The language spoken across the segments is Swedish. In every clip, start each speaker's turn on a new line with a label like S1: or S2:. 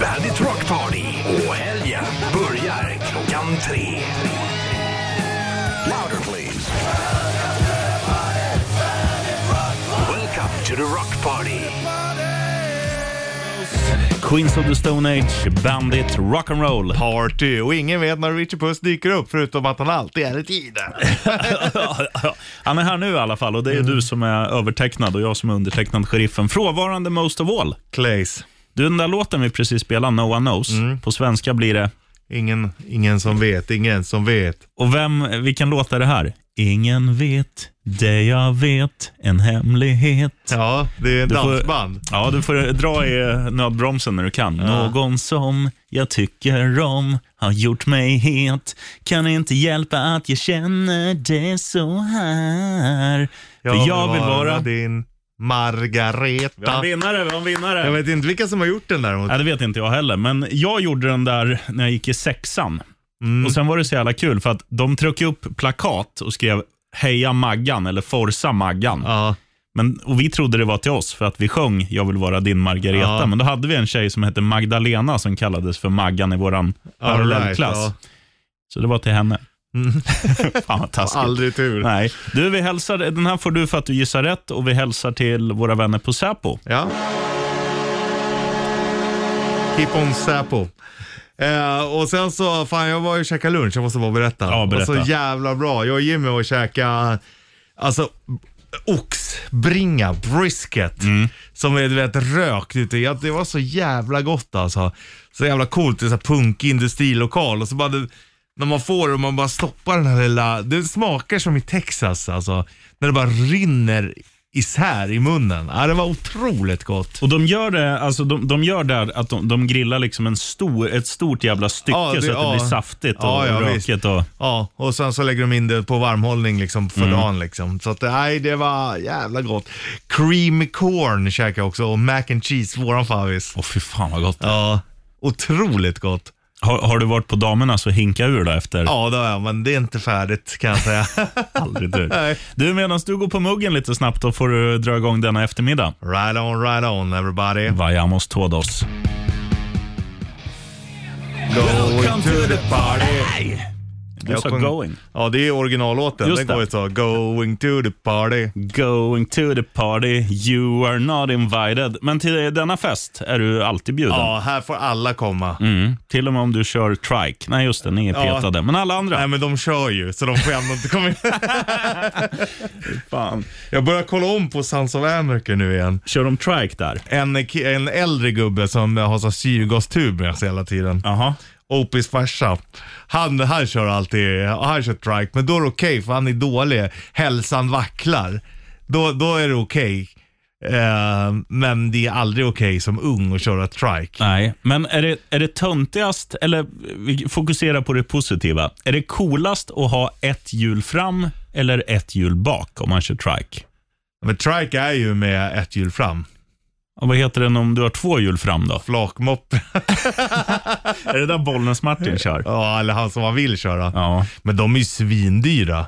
S1: Bandit Rock Party och helgen börjar klockan tre. Louder please. Welcome to the Rock Party.
S2: Queens of the Stone Age, Bandit, Rock'n'Roll.
S3: Party och ingen vet när Richie Puss dyker upp förutom att han alltid är i tiden.
S2: Han är här nu i alla fall och det är du som är övertecknad och jag som är undertecknad sheriffen. Frånvarande most of all.
S3: Clays.
S2: Du, den där låten vi precis spelade, No One Knows, på svenska blir det
S3: Ingen, ingen som vet, ingen som vet.
S2: Och vem, vilken låt är det här? Ingen vet det jag vet, en hemlighet.
S3: Ja, det är en
S2: Du får-
S3: dansband.
S2: Ja, du får dra i eh, nödbromsen när du kan. Någon som jag tycker om har gjort mig het. Kan inte hjälpa att jag känner det så här. För jag vill vara...
S3: din
S2: Vi har
S3: Margareta.
S2: en vinnare, vi har en
S3: Jag
S2: vinnare.
S3: vet inte vilka som har gjort den däremot.
S2: Ja, det vet inte jag heller, men jag gjorde den där när jag gick i sexan.
S3: Mm.
S2: Och Sen var det så jävla kul för att de tryckte upp plakat och skrev Heja Maggan eller Forsa Maggan.
S3: Ja,
S2: Men, och vi trodde det var till oss för att vi sjöng Jag vill vara din Margareta.
S3: Ja.
S2: Men då hade vi en tjej som hette Magdalena som kallades för Maggan i våran parallellklass.
S3: ja. Mm.
S2: Så det var till henne. Fan vad taskigt.
S3: Aldrig tur.
S2: Nej. Du, vi hälsar, den här får du för att du gissar rätt och vi hälsar till våra vänner på Säpo.
S3: Ja. Keep on Säpo. Eh, och sen så, fan jag var ju och käkade lunch, jag måste bara berätta.
S2: Ja, berätta.
S3: Och så jävla bra. Jag och Jimmy var och käkade, alltså oxbringa, brisket,
S2: Mm.
S3: som är du vet rökt ute. i. Det var så jävla gott alltså. Så jävla coolt, det är så här punkindustrilokal och så bara det, när man får det och man bara stoppar den här lilla, det smakar som i Texas alltså. När det bara rinner isär i munnen. Ja, det var otroligt gott.
S2: Och de gör det, alltså de, de gör där att de, de grillar liksom en stor, ett stort jävla stycke
S3: Ja, det-
S2: så att det
S3: ja.
S2: blir saftigt och
S3: Ja, ja,
S2: rökigt.
S3: visst.
S2: Och,
S3: Ja, och sen så lägger de in det på varmhållning liksom
S2: Mm.
S3: för dagen liksom. Så att nej, det var jävla gott. Cream corn käkade jag också och mac and cheese, våran favvis.
S2: åh fy fan vad gott.
S3: Ja, otroligt gott.
S2: Har, har du varit på damernas och hinka ur då efter?
S3: Ja, det har jag, men det är inte färdigt kan jag säga.
S2: Aldrig du.
S3: Nej.
S2: Du, medan du går på muggen lite snabbt, då får du dra igång denna eftermiddag.
S3: right on, right on everybody.
S2: Mm. Vayamos todos.
S3: Going to the party.
S2: Du
S3: Jag
S2: sa
S3: sjöng-
S2: going.
S3: Ja, det är originallåten.
S2: Just
S3: den
S2: det.
S3: går ju så. Going to the party.
S2: Going to the party, you are not invited. Men till denna fest är du alltid bjuden.
S3: Ja, här får alla komma.
S2: Mm. Till och med om du kör trike. Nej, just det, ni är
S3: Ja.
S2: petade. Men alla andra.
S3: Nej, men de kör ju, så de får ändå inte komma in.
S2: fan.
S3: Jag börjar kolla om på Sons of Anarchy nu igen.
S2: Kör de trike där?
S3: En, ki- en äldre gubbe som har så här syrgastub med sig hela tiden.
S2: Jaha.
S3: Opis farsa. Han, han kör alltid, han kör trike, men då är det okej för han är dålig. Hälsan vacklar. Då, då är det okej. Eh, men det är aldrig okej som ung att köra trike.
S2: Nej, men är det, är det töntigast, eller vi fokuserar på det positiva. Är det coolast att ha ett hjul fram eller ett hjul bak om man kör trike?
S3: Men trike är ju med ett hjul fram.
S2: Och vad heter den om du har två hjul fram då?
S3: Flakmoppe.
S2: Är det där Bollnäs Martin kör?
S3: ja, eller han som man vill köra.
S2: Ja.
S3: Men de är ju svindyra.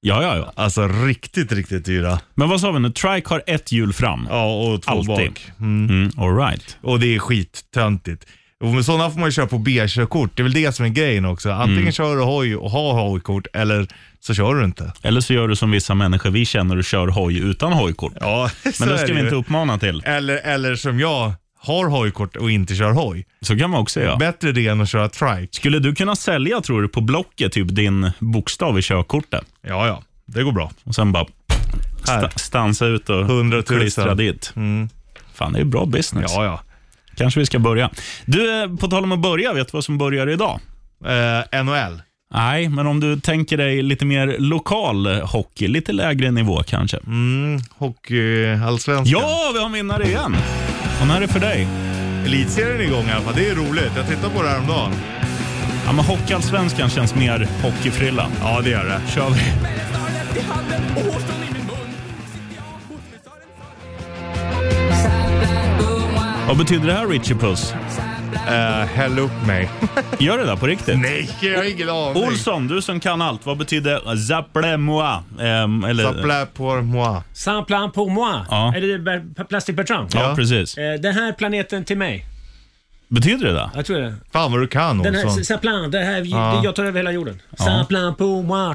S2: ja, ja, ja.
S3: Alltså riktigt, riktigt dyra.
S2: Men vad sa vi nu? Trike har ett hjul fram.
S3: Ja, och två
S2: Alltid.
S3: bak.
S2: Mm, all right.
S3: Och det är skittöntigt. Och med sådana får man ju köra på B-körkort. Det är väl det som är grejen också. Antingen
S2: Mm.
S3: kör du hoj och har hojkort eller så kör du inte.
S2: Eller så gör du som vissa människor vi känner och kör hoj utan hojkort.
S3: Ja,
S2: Men det ska vi inte uppmana till.
S3: Eller, eller som jag, har hojkort och inte kör hoj.
S2: Så kan man också göra.
S3: Bättre det än att köra trike.
S2: Skulle du kunna sälja, tror du, på Blocket typ din bokstav i körkortet?
S3: Ja, ja. Det går bra.
S2: Och sen bara
S3: Här.
S2: sta- stansa ut och
S3: 100 000.
S2: klistra dit. Fan, det är bra business.
S3: Ja, ja.
S2: Kanske vi ska börja. Du, eh, på tal om att börja, vet du vad som börjar idag?
S3: Eh, NHL.
S2: Nej, men om du tänker dig lite mer lokal eh, hockey, lite lägre nivå kanske.
S3: Hockeyallsvenskan.
S2: Ja, vi har en vinnare igen! Och när är det för dig?
S3: Elitserien är igång i alla fall. Det är roligt. Jag tittade på det häromdagen.
S2: Ja, men Hockeyallsvenskan känns mer hockeyfrilla.
S3: Ja, det gör det.
S2: Kör vi. Vad betyder det här, Richie Puss?
S3: Eh, häll upp mig.
S2: Gör det där på riktigt?
S3: Nej, jag har ingen aning.
S2: Olsson, du som kan allt, vad betyder zapple moi? Ehm, eller,
S3: Sapla pour moi.
S4: Saint-Plan pour moi.
S2: Ja.
S4: Är det Ber- Plastic Bertrand?
S2: Ja, precis.
S4: Eh, Den här planeten till mig.
S2: Betyder det det?
S4: Jag tror det.
S3: Fan vad du kan
S4: Den här,
S3: Olsson.
S4: Saplan, det här,
S3: Ja.
S4: jag tar över hela jorden. Saplan på moi.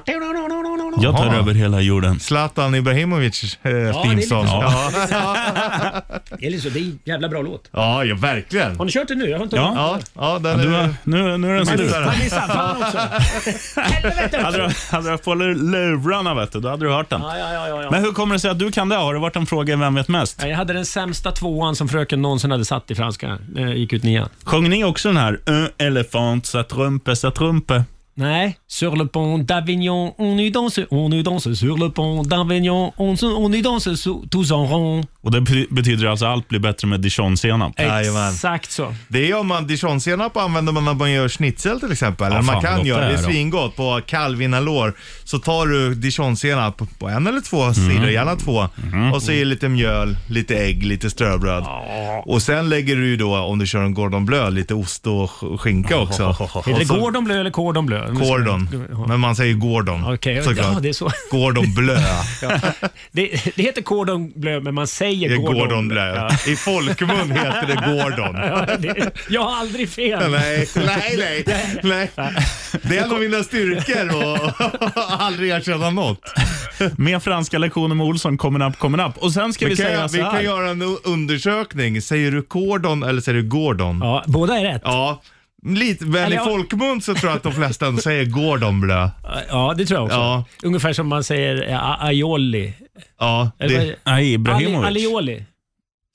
S2: Jag tar
S3: Jaha.
S2: över hela jorden.
S3: Zlatan Ibrahimovic eh,
S4: är
S3: theme song.
S4: lite
S3: Ja.
S4: Det är liksom- det är en jävla bra låt.
S3: Ja, ja, verkligen.
S4: Har ni kört den nu? Jag har inte
S2: Ja.
S3: Ja, ja, den
S2: Du,
S3: är...
S2: har- nu, nu är den slut.
S3: Missar den.
S4: Det är Saplan också. Helvete
S2: Hade
S4: också.
S2: du, hade du haft på lur- lurarna vet du, då hade du hört den.
S4: Ja, ja, ja, ja, ja.
S2: Men hur kommer det sig att du kan det? Har det varit en fråga i Vem vet mest?
S4: Ja, Jag hade den sämsta tvåan som fröken någonsin hade satt i franska. Eh, gick ut nian.
S2: Sjöng ni också den här Un elefant sa trumpe sa trumpe?
S4: Nej. Sur le pont d'Avignon, on y danse, on y danse. Sur le pont d'Avignon, on, se- on y danse sous- tous en rond.
S2: Och det bety- betyder alltså allt blir bättre med dijonsenap.
S3: Jajamän.
S4: Exakt så.
S3: Det är om man dijonsenap använder man när man gör schnitzel till exempel.
S2: Ja,
S3: Eller
S2: fan,
S3: man kan
S2: gott
S3: göra
S2: det
S3: det, är
S2: är då.
S3: svingott. På kalvinalår så tar du dijonsenap på en eller
S4: Mm.
S3: två sidor, gärna två.
S4: Mm-hmm.
S3: Och så i lite mjöl, lite ägg, lite ströbröd. Och sen lägger du ju då, om du kör en Gordon Bleu, lite ost och sk- skinka också.
S4: Heter
S3: Och
S4: det
S3: så-
S4: Gordon Bleu eller Cordon Bleu?
S3: Gordon. Men man säger Gordon.
S4: Okej,
S3: såklart.
S4: ja, det är så.
S3: Gordon Bleu.
S4: Det, det heter Cordon Bleu, men man
S3: Det
S4: säger
S3: är
S4: Gordon,
S3: Gordon Bleu. I folkmun heter det Gordon.
S4: Ja, det, jag har aldrig fel.
S3: Nej, nej, nej. nej. Det är en av mina styrkor och aldrig erkänna något.
S2: Med franska lektioner med Olsson, coming up, coming up. Och sen ska vi
S3: Vi kan,
S2: säga
S3: jag-
S2: så
S3: vi kan
S2: här.
S3: göra en u- undersökning. Säger du Gordon eller säger du Gordon? Ja.
S4: Ja, båda är rätt.
S3: Lite, men
S4: Eller
S3: i
S4: jag-
S3: folkmun så tror jag att de flesta ändå säger Gordon blö.
S4: Ja, det tror jag också.
S3: Ja.
S4: Ungefär som man säger eh, a- aioli.
S3: Ja,
S4: Eller vad
S3: det,
S4: är-
S2: Nej,
S4: Ali,
S2: Ibrahimovic.
S4: alioli,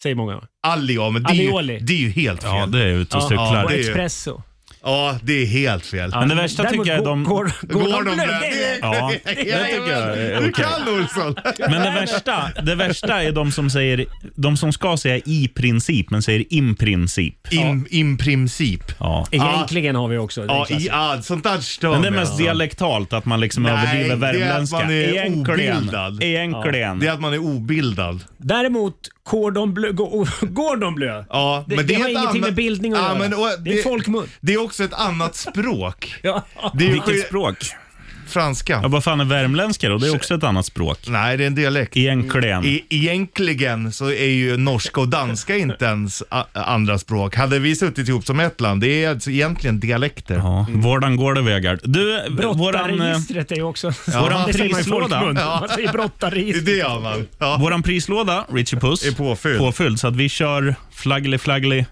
S4: säger många.
S3: alli, ja, men det, är ju,
S4: Alioli.
S3: det är ju helt fel.
S2: ja, det är ute och
S4: Ja,
S2: cyklar.
S3: ja,
S4: Och
S3: det är ju-
S4: espresso.
S3: Ja, det är helt fel.
S2: Men det värsta
S4: Däremot
S2: tycker jag är de...
S4: Gordon, Gordon Bleu,
S3: Bleu,
S4: det är-
S2: Ja,
S3: det
S2: det tycker jag är
S3: Du
S2: okej.
S3: kan Olsson.
S2: Men det värsta, det värsta är de som säger, de som ska säga i princip, men säger in princip.
S3: In, in princip.
S2: Ja.
S4: Egentligen har vi också den
S3: Ja, i,
S4: klassen.
S3: ja sånt där stör
S2: Men det är
S3: mig,
S2: mest
S3: alltså.
S2: dialektalt, att man liksom
S3: Nej,
S2: överdriver
S3: det är att
S2: värmländska.
S3: man är
S2: Egentligen.
S3: obildad.
S2: Egentligen.
S3: Det är att man är obildad.
S4: Däremot Cordon Bleu, Go- Gordon Bleu.
S3: Ja,
S4: det,
S3: men
S4: det
S3: är
S4: har
S3: ett
S4: ingenting med
S3: annat-
S4: bildning att
S3: ja,
S4: göra.
S3: men, och,
S4: det, är folkmun.
S3: Det är också ett annat språk.
S4: Ja.
S3: Det är ju
S2: Vilket språk?
S3: franska.
S2: Ja, vad fan är värmländska då? Det är också ett annat språk.
S3: Nej, det är en dialekt.
S2: Egentligen.
S3: E- Egentligen så är ju norska och danska inte ens a- andra språk. Hade vi suttit ihop som ett land, det är alltså egentligen dialekter.
S2: Ja, vårdan går det Vegard. Du, våran, eh,
S4: Brottarregistret är ju också...
S2: våran
S4: Det säger man i
S2: prislåda.
S4: folkmun.
S3: Ja.
S4: Man säger
S3: Det är
S4: brottarregistret.
S3: det gör man. Ja.
S2: våran prislåda, Richie Puss,
S3: Är påfylld.
S2: så att vi kör flaggly flaggly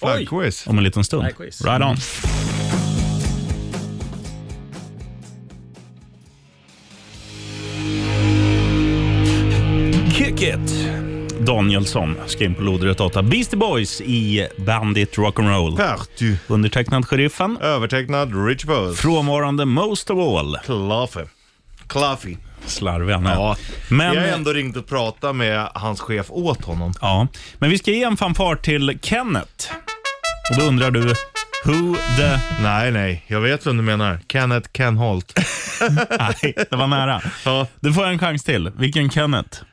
S4: Oj.
S3: Flaggquiz.
S2: om en liten stund.
S4: Flag quiz.
S2: Right on. Kick it! Danielsson ska in på lodrätt 8. Beastie Boys i Bandit Rock'n'Roll.
S3: Party.
S2: Undertecknad Sheriffen,
S3: Övertecknad Rich Buzz.
S2: frånvarande Most of All.
S3: Klaffe. Klaffe.
S2: Slarvig han är.
S3: Ja.
S2: Men,
S3: Jag har ändå ringt och pratat med hans chef åt honom.
S2: Ja, men vi ska ge en fanfar till Kenneth. Och då undrar du, who the...
S3: Nej, nej. Jag vet vem du menar. Kenneth Kenholt.
S2: Nej, det var nära.
S3: Ja.
S2: Du får en chans till. Vilken Kenneth?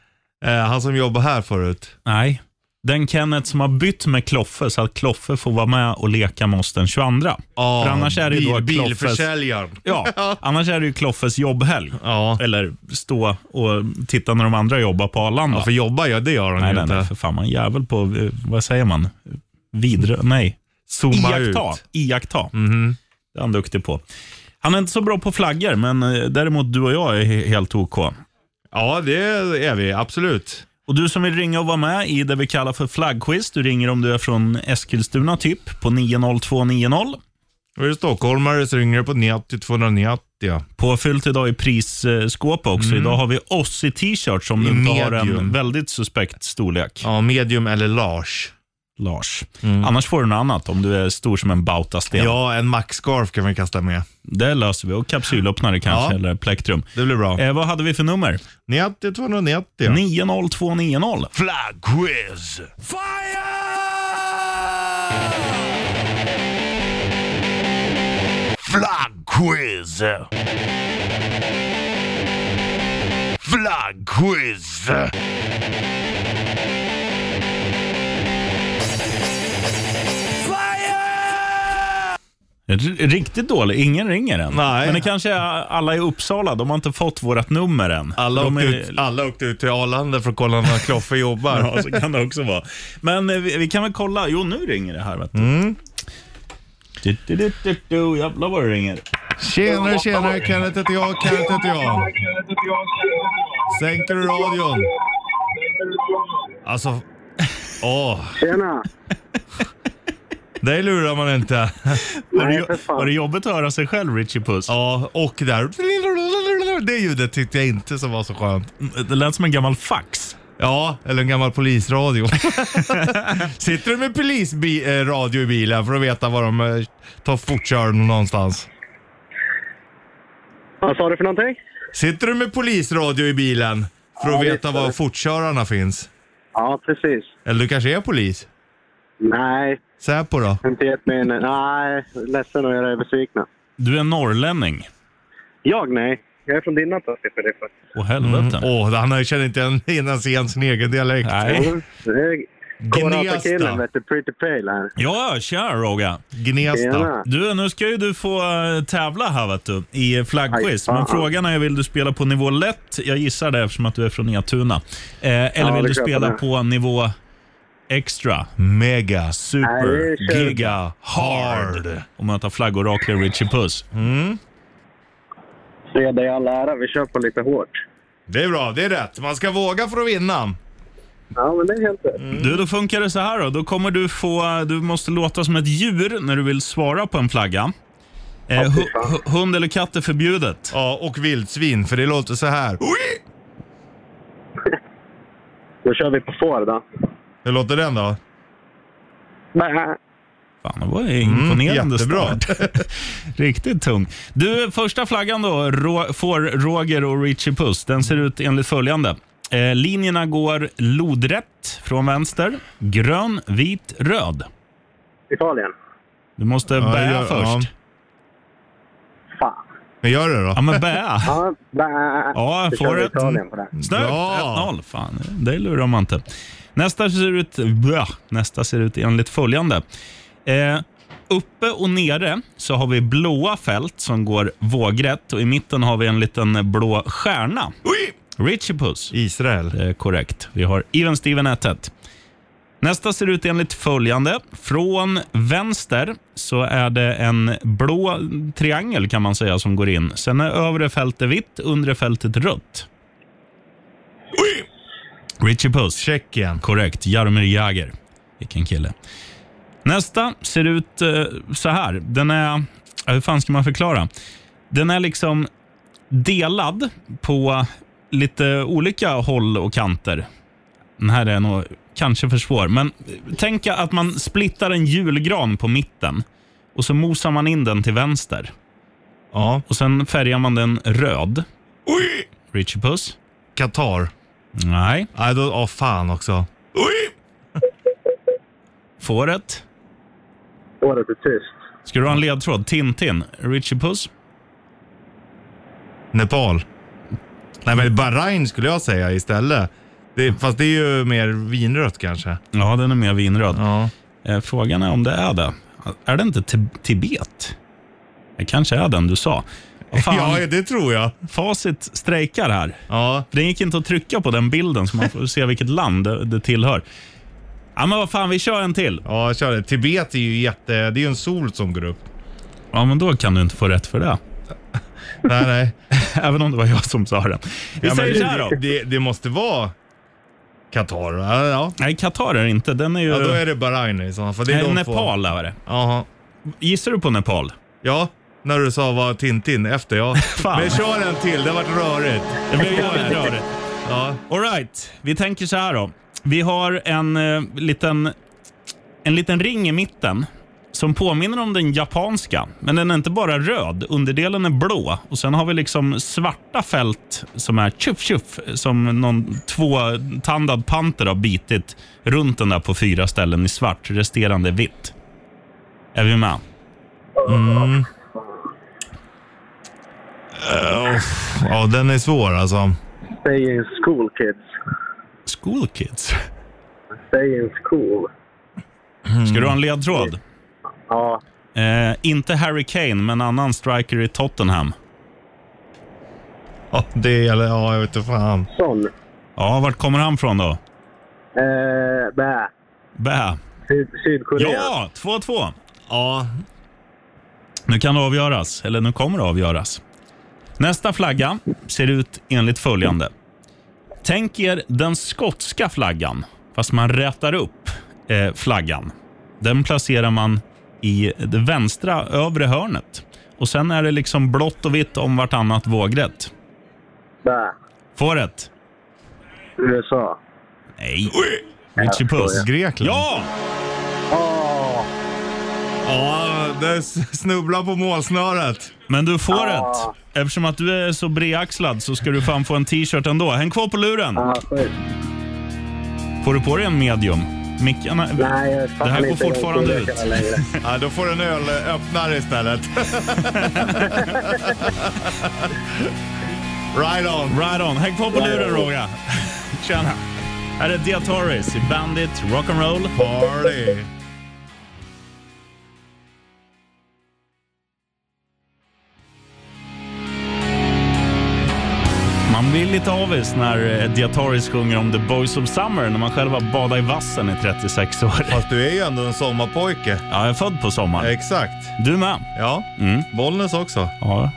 S3: Eh, han som jobbar här förut.
S2: Nej, den Kenneth som har bytt med Kloffe så att Kloffe får vara med och leka med oss den 22.
S3: Ja,
S2: För annars är det ju då
S3: bil,
S2: Kloffes...
S3: Bilförsäljaren.
S2: Ja, annars är det ju Kloffes jobbhelg.
S3: Ja.
S2: Eller stå och titta när de andra jobbar på Arlanda.
S3: Ja, för jobbar jag, det gör han
S2: nej,
S3: ju
S2: nej,
S3: inte.
S2: nej, för fan. Man är jävel på, eh, vad säger man? Vidre... Nej.
S3: Zooma ut. Mhm.
S2: Iaktta. Iaktta. Det är han duktig på. Han är inte så bra på flaggor, men eh, däremot du och jag är he- helt OK.
S3: Ja, det är vi. Absolut.
S2: Och Du som vill ringa och vara med i det vi kallar för flaggquiz, du ringer om du är från Eskilstuna typ på 90290.
S3: Och är du stockholmare så ringer du på 90 290. ja.
S2: Påfyllt idag i prisskåpet också. Idag har vi oss i t-shirts om
S3: Mm.
S2: du
S3: I
S2: inte har en
S3: medium.
S2: väldigt suspekt storlek,
S3: Ja, medium eller large.
S2: Lars. Annars får du något annat om du är stor som en bautasten.
S3: Ja, en maxscarf kan vi kasta med.
S2: Det löser vi. Och kapsylöppnare kanske,
S3: Ja.
S2: eller plektrum.
S3: Det blir bra.
S2: Eh, vad hade vi för nummer?
S3: 90 290. ja.
S2: 90290.
S1: Flaggquiz. Fire! Flaggquiz. Flaggquiz. Fire!
S2: R- Riktigt dålig. Ingen ringer än.
S3: Nej.
S2: Men det kanske är alla i Uppsala. De har inte fått vårt nummer än.
S3: Alla,
S2: de
S3: åkte ut, alla åkte ut till Arlanda för att kolla när Kloffe jobbar. Mm.
S2: Ja, så kan det också vara. Men eh, vi, vi kan väl kolla. Jo, nu ringer det här. Vet du. Du, du, du, du, du, jävlar vad det ringer.
S3: Tjenare, tjenare. Kenneth heter jag. Kenneth heter jag. Sänkte du radion? Alltså, åh.
S5: Tjena!
S3: Det lurar man inte.
S2: Var det,
S5: för
S2: jo-
S5: fan.
S2: var det jobbigt att höra sig själv, Richie Puss?
S3: Ja, och där. Det ljudet tyckte jag inte som var så skönt.
S2: Det lät som en gammal fax.
S3: Ja, eller en gammal polisradio. Sitter du med polisradio i bilen för att veta var de eh, tar fortkörning någonstans?
S5: Vad sa du för någonting?
S3: Sitter du med polisradio i bilen för att veta var fortkörarna finns?
S5: Ja, precis.
S3: Eller du kanske är polis?
S5: Nej,
S3: Säpo då?
S5: inte gett mig in. Nej, ledsen att göra er besvikna.
S2: Du är en norrlänning.
S5: Jag? Nej. Jag är från Dinata, Steffe Diffe.
S2: Åh helvete.
S3: Mm. Åh, han känner inte igen- ens igen sin egen dialekt.
S2: Nej.
S5: Det är Kårata-killen,
S3: Gnesta.
S5: vet du. Pretty pale här.
S2: Ja, tja Roga.
S3: Gnesta.
S5: Tjena.
S2: Du, nu ska ju du få eh, tävla här vet du, i
S5: Aj,
S2: flaggquiz.
S5: fan.
S2: Men frågan är, vill du spela på nivå lätt? Jag gissar det eftersom att du är från Etuna. Eh, eller
S5: Ja,
S2: vill
S5: det
S2: du
S5: köper
S2: spela
S5: jag.
S2: på nivå extra?
S3: Mega.
S2: Super,
S5: Nej, det kör-
S2: giga, hard. Om man tar flaggorakler Richie Puss.
S5: Fredag i all ära, vi kör på lite hårt.
S3: Det är bra, det är rätt. Man ska våga för att vinna.
S5: Ja, men det är helt rätt.
S2: Du, då funkar det så här då. Då kommer du få, du måste låta som ett djur när du vill svara på en flagga. Eh, hu- hu- hund eller katt är förbjudet.
S3: Ja, och vildsvin, för det låter så här.
S5: Då kör vi på får då.
S3: Hur låter den då?
S5: Bä.
S2: Fan, det var ju imponerande
S3: jättebra.
S2: start. Riktigt tung. Du, första flaggan då, Ro- får Roger och Richie Puss. Den ser ut enligt följande. Eh, linjerna går lodrätt från vänster, grön, vit, röd.
S5: Italien.
S2: Du måste bäa
S3: gör-
S2: först. Ja,
S3: ja.
S5: Fan.
S3: Men gör det då.
S2: men bäa.
S5: Ja, bä.
S2: Ja,
S5: Då
S2: får
S5: kör vi
S2: det.
S5: Italien på det.
S2: Snyggt!
S3: Bra.
S2: 1-0. Fan, det lurar man inte. Nästa ser ut, bra, nästa ser ut enligt följande. Eh, uppe och nere så har vi blåa fält som går vågrätt och i mitten har vi en liten blå stjärna. Richie Puss.
S3: Israel.
S2: Det är Eh, korrekt. Vi har Even Steven 1-1. Nästa ser ut enligt följande. Från vänster så är det en blå triangel kan man säga som går in. Sen är övre fältet vitt, undre fältet rött. Richie Puss.
S3: Tjeckien.
S2: Korrekt. Jaromir Jagr. Vilken kille. Nästa ser ut eh, så här. Den är... ja, Hur fan ska man förklara? Den är liksom delad på lite olika håll och kanter. Den här är nog kanske för svår, men tänk att man splittar en julgran på mitten och så mosar man in den till vänster
S3: Ja.
S2: och sen färgar man den röd. Richie Puss?
S3: Qatar.
S2: Nej.
S3: Nej, då... Åh, fan också.
S2: Fåret?
S5: Året är tyst.
S2: Ska du ha en ledtråd? Tintin? Richie Puss?
S3: Nepal. Nej, men Bahrain skulle jag säga istället. Det, fast det är ju mer vinrött kanske.
S2: Ja, den är mer vinröd.
S3: Ja.
S2: Eh, Frågan är om det är det. Är det inte Ti- Tibet? Det kanske är den du sa. Vad Fan,
S3: Ja, det tror jag.
S2: Facit strejkar här.
S3: Ja.
S2: Det gick inte att trycka på den bilden så man får se vilket land det, det tillhör. Ja, men vad fan, vi kör en till.
S3: Ja, kör det. Tibet är ju jätte... Det är ju en sol som går upp.
S2: Ja, men då kan du inte få rätt för det.
S3: Nej, nej.
S2: Även om det var jag som sa den. Vi
S3: Ja, men
S2: säger så här då.
S3: det, det, det måste vara Qatar. Ja, ja.
S2: Nej, Qatar är det inte. Den är ju...
S3: ja, då är det Bahrain i sådana fall. Det är
S2: Nej,
S3: de två.
S2: Nepal är det.
S3: Jaha.
S2: Gissar du på Nepal?
S3: Ja, när du sa vad Tintin efter ja.
S2: Fan.
S3: Men kör en till, det vart rörigt.
S2: Det blev jävligt rörigt.
S3: Ja.
S2: All right, vi tänker så här då. Vi har en eh, liten, en liten ring i mitten som påminner om den japanska, men den är inte bara röd. Underdelen är blå och sen har vi liksom svarta fält som är tjuff tjuff som någon tvåtandad panter har bitit runt den där på fyra ställen i svart, resterande är vitt. Är vi med?
S3: ja, den är svår alltså.
S5: Stay in school, kids.
S2: School kids.
S5: Stay in school.
S2: Ska du ha en ledtråd?
S5: Ja,
S2: Eh, inte Harry Kane, men annan striker i Tottenham.
S3: Ja, det eller ja, jag vet inte fan.
S5: sån.
S2: Ja, vart kommer han från då?
S5: Eh, bä.
S2: Bä.
S5: Syd- Sydkorea.
S2: Ja, 2-2.
S3: Ja,
S2: Nu kan det avgöras, eller nu kommer det avgöras. Nästa flagga ser ut enligt följande. Tänk er den skotska flaggan, fast man rätar upp eh, flaggan. Den placerar man i det vänstra övre hörnet. Och Sen är det liksom blått och vitt om vartannat vågrätt.
S5: Där.
S2: Fåret?
S5: USA.
S2: Nej. Oxipus.
S3: Grekland.
S2: Ja!
S5: Åh!
S3: Ja, det s- snubblar på målsnöret.
S2: Men du får rätt. Eftersom att du är så bredaxlad så ska du fan få en t-shirt ändå. Häng kvar på luren.
S5: Ah, skit.
S2: Får du på dig en medium? Mickarna...
S5: Nej, jag
S2: Det här går
S5: inte
S2: fortfarande ut.
S5: Längre.
S3: Ja, då får du en ölöppnare istället. right on.
S2: Right on. Häng kvar på luren, Roger. Tjena. Här är Dia Torres i Bandit Rock'n'Roll.
S3: Party.
S2: Man blir lite avis när eh, Dia Torres sjunger om The Boys of Summer när man själv har badat i vassen i 36 år.
S3: Fast du är ju ändå en sommarpojke.
S2: Ja, jag är född på
S3: Eh.
S2: sommaren.
S3: Exakt.
S2: Du med?
S3: Ja.
S2: Mm.
S3: Bollnäs också.
S2: Ja,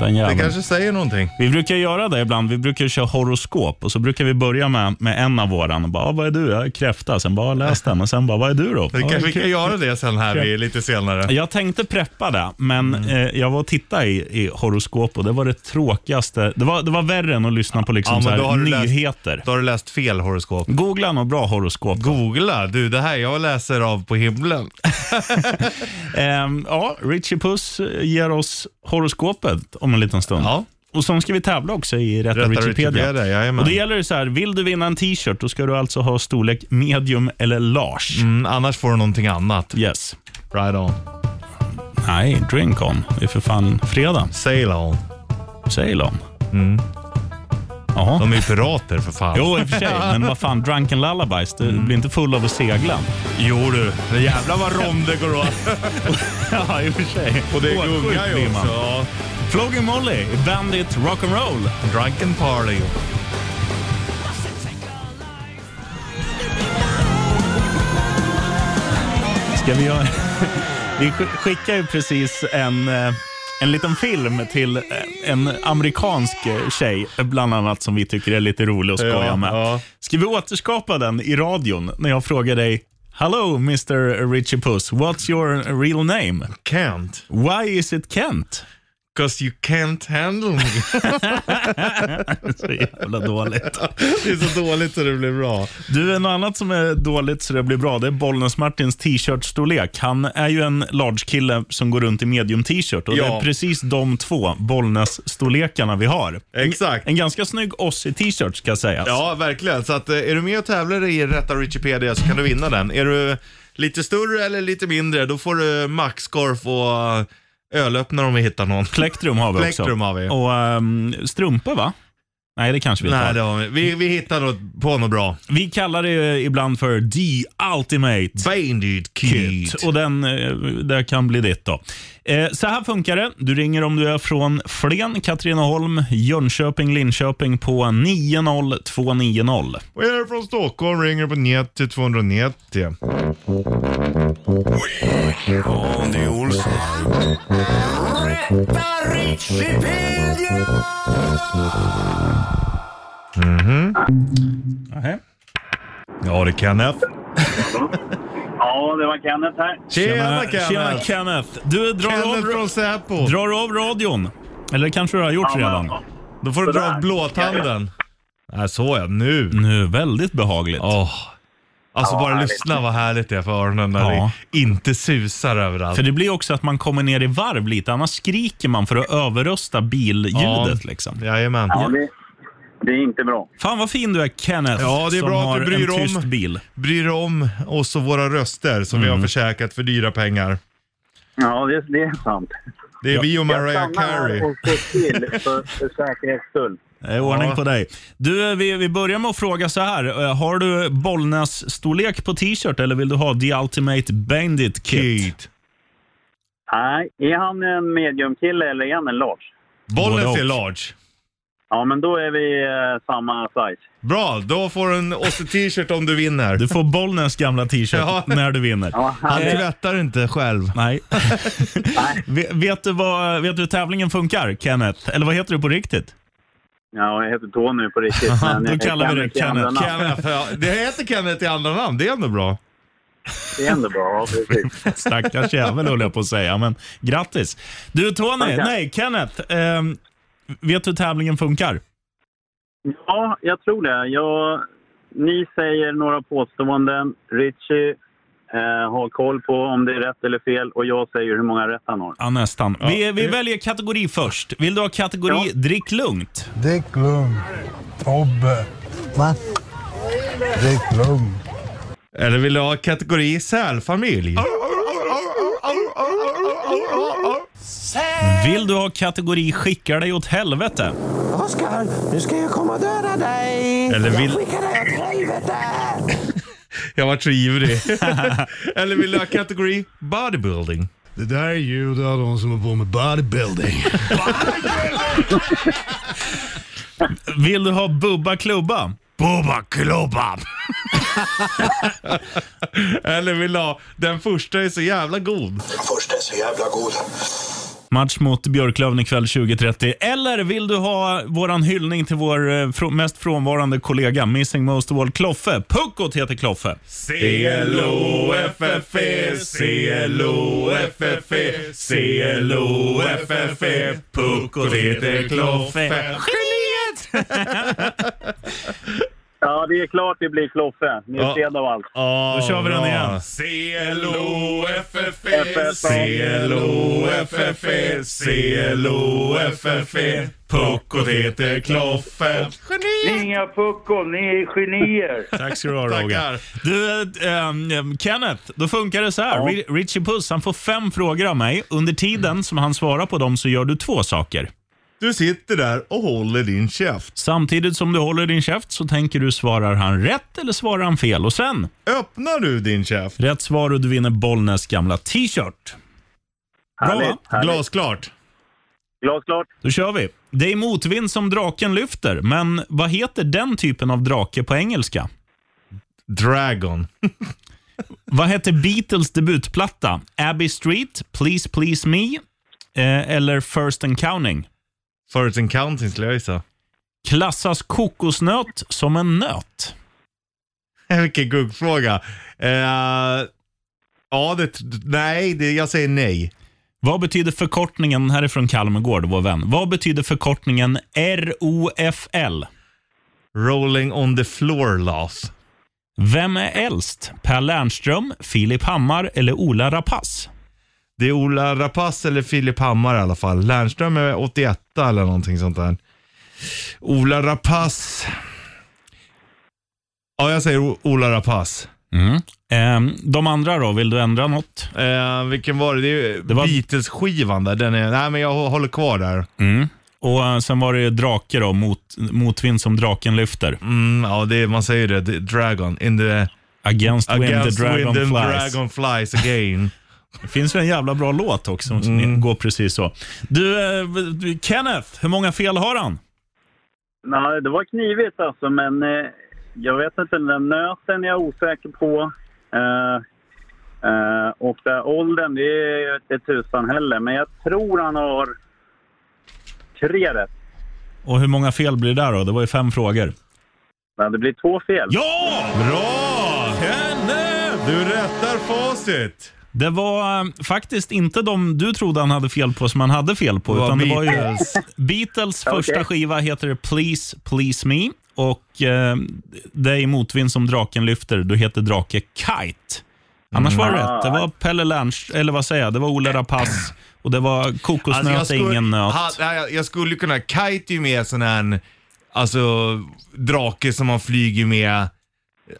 S2: den
S3: Det
S2: jäveln.
S3: kanske säger någonting.
S2: Vi brukar göra det ibland. Vi brukar köra horoskop och så brukar vi börja med, med en av våran och bara, ah, vad är du? Jag är kräfta. Sen bara, "Ah, läs den och sen bara, vad är du då?
S3: Vi
S2: "Ah,
S3: kan, vi
S2: kräfta."
S3: kan göra det sen här vid- lite senare.
S2: Jag tänkte preppa det, men
S3: Mm.
S2: eh, jag var och tittade i, i horoskop och det var det tråkigaste. Det var, det var värre än att lyssna på liksom
S3: Ja, men
S2: så
S3: då
S2: här,
S3: har du läst-
S2: nyheter.
S3: Då har du läst fel horoskop.
S2: Googla något bra horoskop.
S3: Googla. Du, det här jag läser av på himlen.
S2: Ehm, ja, Richie Puss eh, ger oss horoskopet om en liten stund.
S3: Ja.
S2: Och sen ska vi tävla också i Rätta,
S3: Rätta
S2: Wikipedia.
S3: Wikipedia, jajamän.
S2: och det gäller ju så här, vill du vinna en t-shirt, då ska du alltså ha storlek medium eller large.
S3: Mm, annars får du någonting annat.
S2: Yes.
S3: Right on.
S2: Nej, drink on. Det är för fan fredag.
S3: Sail on.
S2: Säger de. Jaha.
S3: Mm. De är ju pirater för fan.
S2: Jo, i och för sig. Men vad fan, drunken lullabies. Du blir inte full av att segla.
S3: jo du. Mm. Det jävlar vad rom det går åt.
S2: ja, i och för sig.
S3: Och det
S2: Åksjukt
S3: gungar
S2: blir
S3: ju
S2: man.
S3: också. Ja.
S2: Flogging Molly, i Bandit Rock'n'Roll.
S3: Drunken party.
S2: Ska vi göra... Vi sk- skickar ju precis en, eh, en liten film till eh, en amerikansk eh, tjej, bland annat, som vi tycker är lite rolig att skoja
S3: Ja,
S2: med.
S3: ja.
S2: Ska vi återskapa den i radion när jag frågar dig Hello Mr Richie Puss, what's your real name?
S3: Can't.
S2: Why is it Kent?
S3: Cause you can't handle me.
S2: Så jävla dåligt.
S3: Det är så dåligt så det blir bra.
S2: Du, något annat som är dåligt så det blir bra, det är Bollnäs-Martins t-shirt-storlek. Han är ju en large-kille som går runt i medium-t-shirt och det
S3: Ja.
S2: är precis de två Bollnäs-storlekarna vi har.
S3: Exakt.
S2: En ganska snygg Ossi-t-shirt ska sägas.
S3: Ja, verkligen. Så att, eh, är du med och tävlar i Rätta Wikipedia så kan du vinna den. Är du lite större eller lite mindre, då får du maxkorf och eh, ölöppnare om vi hittar någon.
S2: Plektrum har vi också.
S3: Plektrum har vi.
S2: Och ehm, strumpor va? Nej, det kanske vi inte har.
S3: Nej, det har vi. Vi, vi hittar något på något bra.
S2: Vi kallar det ju ibland för The Ultimate
S3: Bandit Kid.
S2: Kit. Och den eh, det kan bli ditt då. Eh, Så här funkar det. Du ringer om du är från Flen, Katrineholm, Jönköping, Linköping på 90290.
S3: Och är du från Stockholm ringer på 90 290.
S1: Andy Olsson. Rätta Richipedia!
S3: Ja, det kan jag.
S6: Ja, det var Kenneth här.
S3: Tjena,
S2: Tjena
S3: Kenneth.
S2: Kenneth. Du drar av,
S3: Kenneth från Säpo.
S2: drar av radion. Eller kanske du har gjort redan.
S3: Då får du dra av blåtanden. Nej, så ja. Nu.
S2: Nu, väldigt behagligt.
S3: Åh. Alltså bara lyssna vad härligt det är för öronen när
S2: Ja.
S3: det inte susar överallt.
S2: För det blir också att man kommer ner i varv lite, annars skriker man för att överrösta billjudet.
S3: Ja.
S2: Liksom.
S3: Jajamän.
S6: Ja, det, det är inte bra.
S2: Fan vad fin du är Kenneth,
S3: Ja, det är
S2: som
S3: bra att
S2: har
S3: du bryr
S2: en
S3: om.
S2: tyst bil.
S3: Bryr dig om oss och våra röster som vi har försäkrat för dyra pengar.
S6: Ja, det, det är sant.
S3: Det är vi och Mariah
S6: Jag stannar här
S3: Carey.
S6: och står till för, för säkerhets skull.
S2: Det är ordning
S3: Ja.
S2: på dig. Du, vi, vi börjar med att fråga så här. Eh, Har du Bollnäs-storlek på t-shirt eller vill du ha The Ultimate Bandit Kit?
S3: Kit.
S6: Nej, är han en mediumkille eller är han en large?
S3: Bollen
S2: Både
S3: ser
S2: och.
S3: large.
S6: Ja, men då är vi eh, samma size.
S3: Bra, då får du en Ossie-t-shirt om du vinner.
S2: Du får Bollnäs gamla t-shirt
S3: Ja.
S2: när du vinner.
S3: Han tvättar inte själv.
S2: Nej. Ve- vet, du vad, vet du hur tävlingen funkar, Kenneth? Eller vad heter du på riktigt?
S6: Ja, jag heter Tony på riktigt.
S2: Aha,
S6: men
S2: då
S6: jag
S2: kallar vi
S6: kan
S2: dig
S6: inte andra
S2: Kenneth.
S6: namn.
S3: Kenneth, ja. Det heter Kenneth i andra namn, det är ändå bra.
S6: Det är ändå bra. Ja, precis.
S2: Stackars jävel höll jag på att säga, men grattis. Du Tony,
S6: Tackar.
S2: nej Kenneth. ehm, vet du hur tävlingen funkar?
S6: Ja, jag tror det. Jag, ni säger några påståenden. Richie eh, har koll på om det är rätt eller fel och jag säger hur många rätt han har.
S2: Ja, nästan. Vi, vi väljer kategori först. Vill du ha kategori
S6: Ja.
S2: drick lugnt?
S7: Dick Lugn. Tobbe. Va? Dick Lugn.
S3: Eller vill du ha kategori sälfamilj?
S2: Vill du ha kategori skickar dig åt helvete?
S8: Oskar, nu ska jag komma och döda dig!
S3: Eller vill-
S8: Jag skickar dig åt helvete!
S3: Jag var så ivrig. Eller vill du ha kategori bodybuilding?
S7: Det där är ljud av de som har på med bodybuilding.
S2: Vill du ha bubba klubba?
S3: Bubba klubba! Eller vill du ha den första är så jävla god?
S8: Först är så jävla god.
S2: Match mot Björklöven ikväll 20.30. Eller vill du ha våran hyllning till vår eh, frå- mest frånvarande kollega, Missing Most of All, Kloffe? Puckot heter Kloffe.
S3: C-L-O-F-F-E, C-L-O-F-F-E, C-L-O-F-F-E, Puckot heter Kloffe.
S6: Ja, det är klart det blir Kloffe. Ni är
S3: Ja.
S6: fred av allt.
S3: Oh,
S2: Då kör vi den igen.
S3: C-L-O-F-F-E,
S2: E.
S3: C-L-O-F-F-E,
S2: E.
S3: C-L-O-F-F-E, Puckot heter Kloffe.
S5: Inga puckon, ni är genier.
S2: Tack ska du ha Roger.
S3: Tackar.
S2: Du, eh, ehm, Kenneth, då funkar det så här. Ri- Richie Puss han får fem frågor av mig. Under tiden som han svarar på dem så gör du två saker.
S3: Du sitter där och håller din käft.
S2: Samtidigt som du håller din käft så tänker du svarar han rätt eller svarar han fel? Och sen,
S3: Öppnar du din käft?
S2: rätt svar och du vinner Bollnäs gamla t-shirt. Bra va?
S6: Härligt, härligt.
S3: Glasklart.
S6: Glasklart.
S2: Då kör vi. Det är motvind som draken lyfter, men vad heter den typen av drake på engelska?
S3: Dragon.
S2: Vad hette Beatles debutplatta? Abbey Street, Please Please Me eh, eller First and Counting?
S3: First and counting skulle jag gissa.
S2: Klassas kokosnöt som en nöt?
S3: Vilken guggfråga. Eh, ja, det, nej, det, jag säger nej.
S2: Vad betyder förkortningen, den här är från Kalmegård, vår vän. Vad betyder förkortningen ROFL?
S3: Rolling on the floor laugh.
S2: Vem är äldst? Per Lernström, Filip Hammar eller Ola Rapace?
S3: Det är Ola Rapace eller Filip Hammar i alla fall. Lernström är 81 eller någonting sånt där. Ola Rapace. Ja, jag säger O- Ola Rapace.
S2: Ehm, de andra då, vill du ändra något?
S3: Eh, vilken var det? Det är ju
S2: Det var-
S3: Beatles-skivan där. Den är, nej, men jag hå- håller kvar där.
S2: Och eh, sen var det ju drake då, mot, motvind som draken lyfter.
S3: Mm, ja, det, är- man säger det. The Dragon. In the...
S2: Against,
S3: Against
S2: wind the dragon
S3: wind and
S2: flies.
S3: dragon flies again.
S2: Det finns ju en jävla bra låt också som
S3: Mm.
S2: går precis så. Du, eh, du, Kenneth, hur många fel har han?
S6: Nej, det var knivigt alltså, men eh, jag vet inte. Den där nöten är jag osäker på. Eh, eh, och där åldern, det är ju inte tusan heller. Men jag tror han har tre rätt.
S2: Och hur många fel blir det där då? Det var ju fem frågor.
S6: Men det blir två fel.
S2: Ja!
S3: Bra!
S2: Kenneth!
S3: Du rättar facit.
S2: Det var eh, faktiskt inte de du trodde han hade fel på som han hade fel på.
S3: Det var
S2: utan det var ju
S3: Beatles.
S2: Beatles
S6: Okej.
S2: första skiva heter Please, Please Me. Och eh, det är i motvind som draken lyfter. Du heter drake Kite. Annars var det
S3: Mm.
S2: rätt. Det var Pelle Lernst, eller vad säger jag? Det var Ola Rapace och det var kokosnöt
S3: Alltså, jag
S2: är Alltså, ingen nöt.
S3: Ha, nej, jag- jag skulle kunna, kite är ju mer sån här, alltså drake som man flyger med,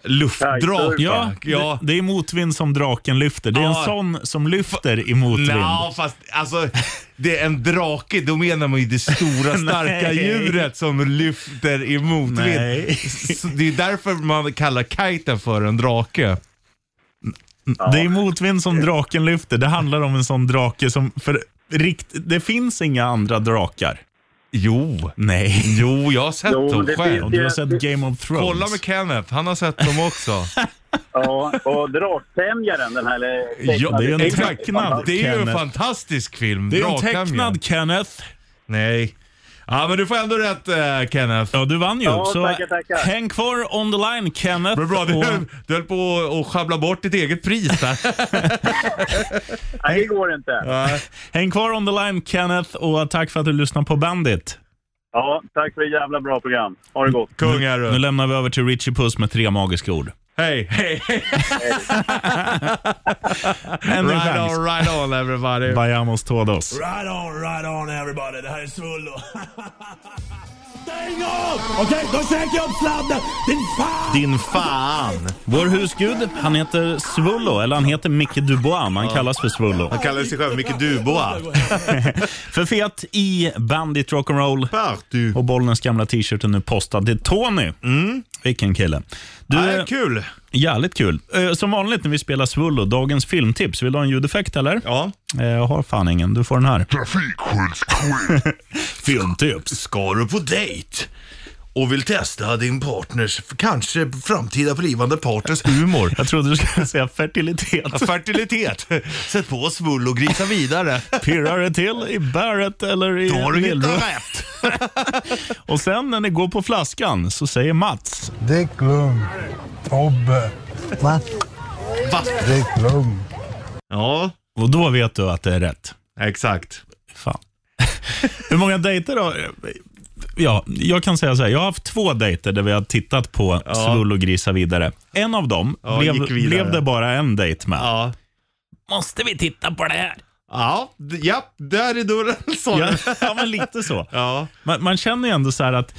S3: luftdrake.
S6: Kitesurfare.
S2: Ja,
S3: ja.
S2: Det, det är motvind som draken lyfter. Det är en
S3: Ja.
S2: sån som lyfter i motvind.
S3: Nå, fast alltså, det är en drake, då menar man ju det stora starka
S2: Nej.
S3: djuret som lyfter i motvind.
S2: Nej.
S3: Så Det är därför man kallar kiten för en drake.
S2: Det är motvind som draken lyfter. Det handlar om en sån drake som... För rikt, det finns inga andra drakar.
S3: Jo.
S2: Nej.
S3: Jo, jag har sett
S6: Jo,
S3: dem
S6: det
S3: själv.
S2: Om du har sett Game of Thrones.
S3: Kolla med Kenneth, han har sett dem också.
S6: Ja, och Draksämjaren, den här... eller-
S3: Ja,
S2: det är en
S6: tecknade-
S2: tecknad.
S3: Det är ju en
S2: Kenneth.
S3: fantastisk film.
S2: det är en
S3: Drakhamren.
S2: tecknad Kenneth.
S3: Nej. Ja, men du får ändå rätt eh, Kenneth.
S2: Ja, du vann ju.
S6: Ja,
S2: så
S6: tackar, tackar.
S2: häng kvar on the line Kenneth.
S3: Men bra, du,
S2: och,
S3: höll, du höll på att- att sjabbla bort ditt eget pris där.
S6: Nej, det går inte.
S2: häng kvar on the line Kenneth och tack för att du lyssnar på Bandit.
S6: Ja, tack för ett jävla bra program. Ha det gott.
S3: Kung är
S2: Nu
S3: du.
S2: lämnar vi över till Richie Puss med tre magiska ord.
S3: Hej, hej, hej.
S2: En
S3: Right
S2: chans.
S3: on, right on everybody.
S2: Vayamos todos.
S1: Right on, right on everybody. Det här är Svullo. Stäng av! Okej, då käkar jag upp sladden. Din fan!
S3: Din fan.
S2: Vår husgud, han heter Svullo, eller han heter Micke Dubois, men han kallas för Svullo.
S3: Han kallar sig själv Micke Dubois.
S2: För fet i Bandit Rock'n'Roll
S3: Party.
S2: och Bollnäs gamla t-shirt är nu postad till Tony.
S3: Mm.
S2: Vilken kille. Du,
S3: Ja, kul.
S2: jävligt kul. Eh, Som vanligt när vi spelar Svullo, dagens filmtips. Vill du ha en ljudeffekt eller?
S3: Ja.
S2: Eh, Jag har fan ingen, du får den här.
S3: Filmtips. Ska du på dejt och vill testa din partners, kanske framtida blivande partners humor?
S2: Jag trodde du skulle säga fertilitet.
S3: Fertilitet. Sätt på svull och grisa vidare.
S2: Pirrar det till i bäret eller i
S3: Då har du
S2: Millrose?
S3: hittat rätt.
S2: Och sen när det går på flaskan så säger Mats
S7: Dick Lund. Tobbe. Va?
S3: Va?
S7: Dick Lund.
S3: Ja,
S2: Och då vet du att det är rätt.
S3: exakt.
S2: Fan. Hur många dejter då? Ja, jag kan säga så här. Jag har haft två dejter där vi har tittat på svull och grisa vidare. En av dem
S3: Ja,
S2: blev,
S3: gick vidare.
S2: blev det bara en dejt med.
S3: Ja.
S2: Måste vi titta på det här?
S3: Ja, d- ja, där är dörren sa
S2: Ja,
S3: du.
S2: ja men lite så.
S3: Ja.
S2: Man, man känner ju ändå så här att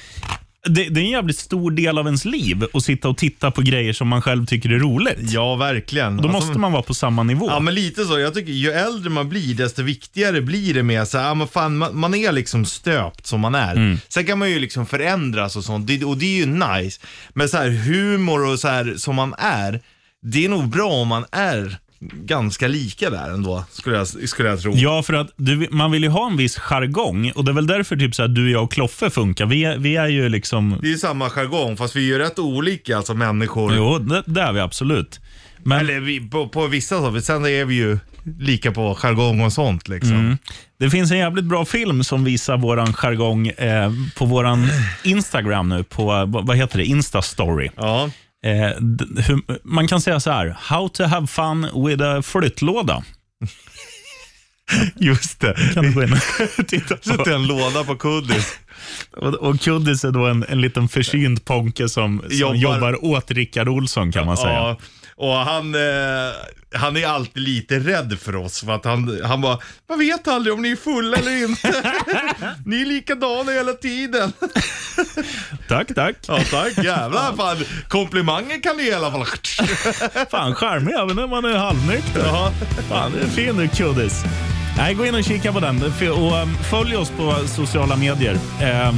S2: det, det är en jävligt stor del av ens liv att sitta och titta på grejer som man själv tycker är roligt.
S3: Ja, verkligen.
S2: Då
S3: Alltså,
S2: måste man vara på samma nivå.
S3: Ja men lite så, jag tycker ju äldre man blir desto viktigare blir det med så här, ja, men fan, man, man är liksom stöpt som man är.
S2: Mm.
S3: Sen kan man ju liksom förändras och sånt det, och det är ju nice. Men så här humor och så här som man är, det är nog bra om man är ganska lika där ändå, skulle jag, skulle jag tro.
S2: Ja, för att du, man vill ju ha en viss jargong och det är väl därför typ så här, du, jag och Kloffe funkar. Vi, är- vi är ju liksom...
S3: Det är ju samma jargong fast vi är ju rätt olika alltså människor.
S2: Jo, det, det är vi absolut. Men
S3: Eller vi, på, på vissa saker, sen är vi ju lika på jargong och sånt liksom.
S2: det finns en jävligt bra film som visar våran jargong eh, på våran Instagram nu, på, eh, vad vad heter det, Instastory.
S3: Ja.
S2: Eh, d- hur, man kan säga så här, how to have fun with a flyttlåda.
S3: Just det.
S2: Kan du gå in och titta
S3: Sätter
S2: på?
S3: en låda på kuddis.
S2: Och, och Kuddis är då en, en liten försynt ponke som, som jobbar.
S3: Jobbar-
S2: åt Rickard Olsson kan man säga.
S3: Ja, och han, eh, han är alltid lite rädd för oss. För att han, han bara, man vet aldrig om ni är fulla eller inte. ni är likadana hela tiden.
S2: Tack, tack.
S3: Ja tack, jävlar fan. Komplimanger kan ni i alla fall.
S2: Fan, charmig även när man är halvnykter. Ja. Fan, det är fin du kuddis. Nej, gå in och kika på den. F- Och um, följ oss på sociala medier. Ehm,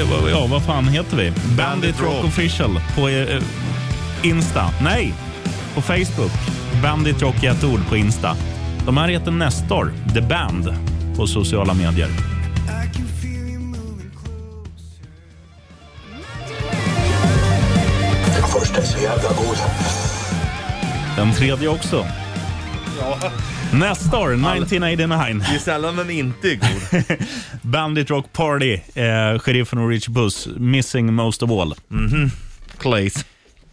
S2: eh, vad- ja, vad fan heter vi? Bandit
S3: Bandit
S2: Rock
S3: Rock.
S2: Official på eh, eh, Insta. Nej, på Facebook. Bandit Rock i ett ord på Insta. De här heter Nestor, The Band, på sociala medier.
S8: Den första är så jävla god.
S2: Den tredje också. Nestor, 1989.
S3: Det är sällan den inte är god.
S2: Bandit Rock Party, eh, Sheriffen och Rich Buss, Missing Most of All.
S3: Clays.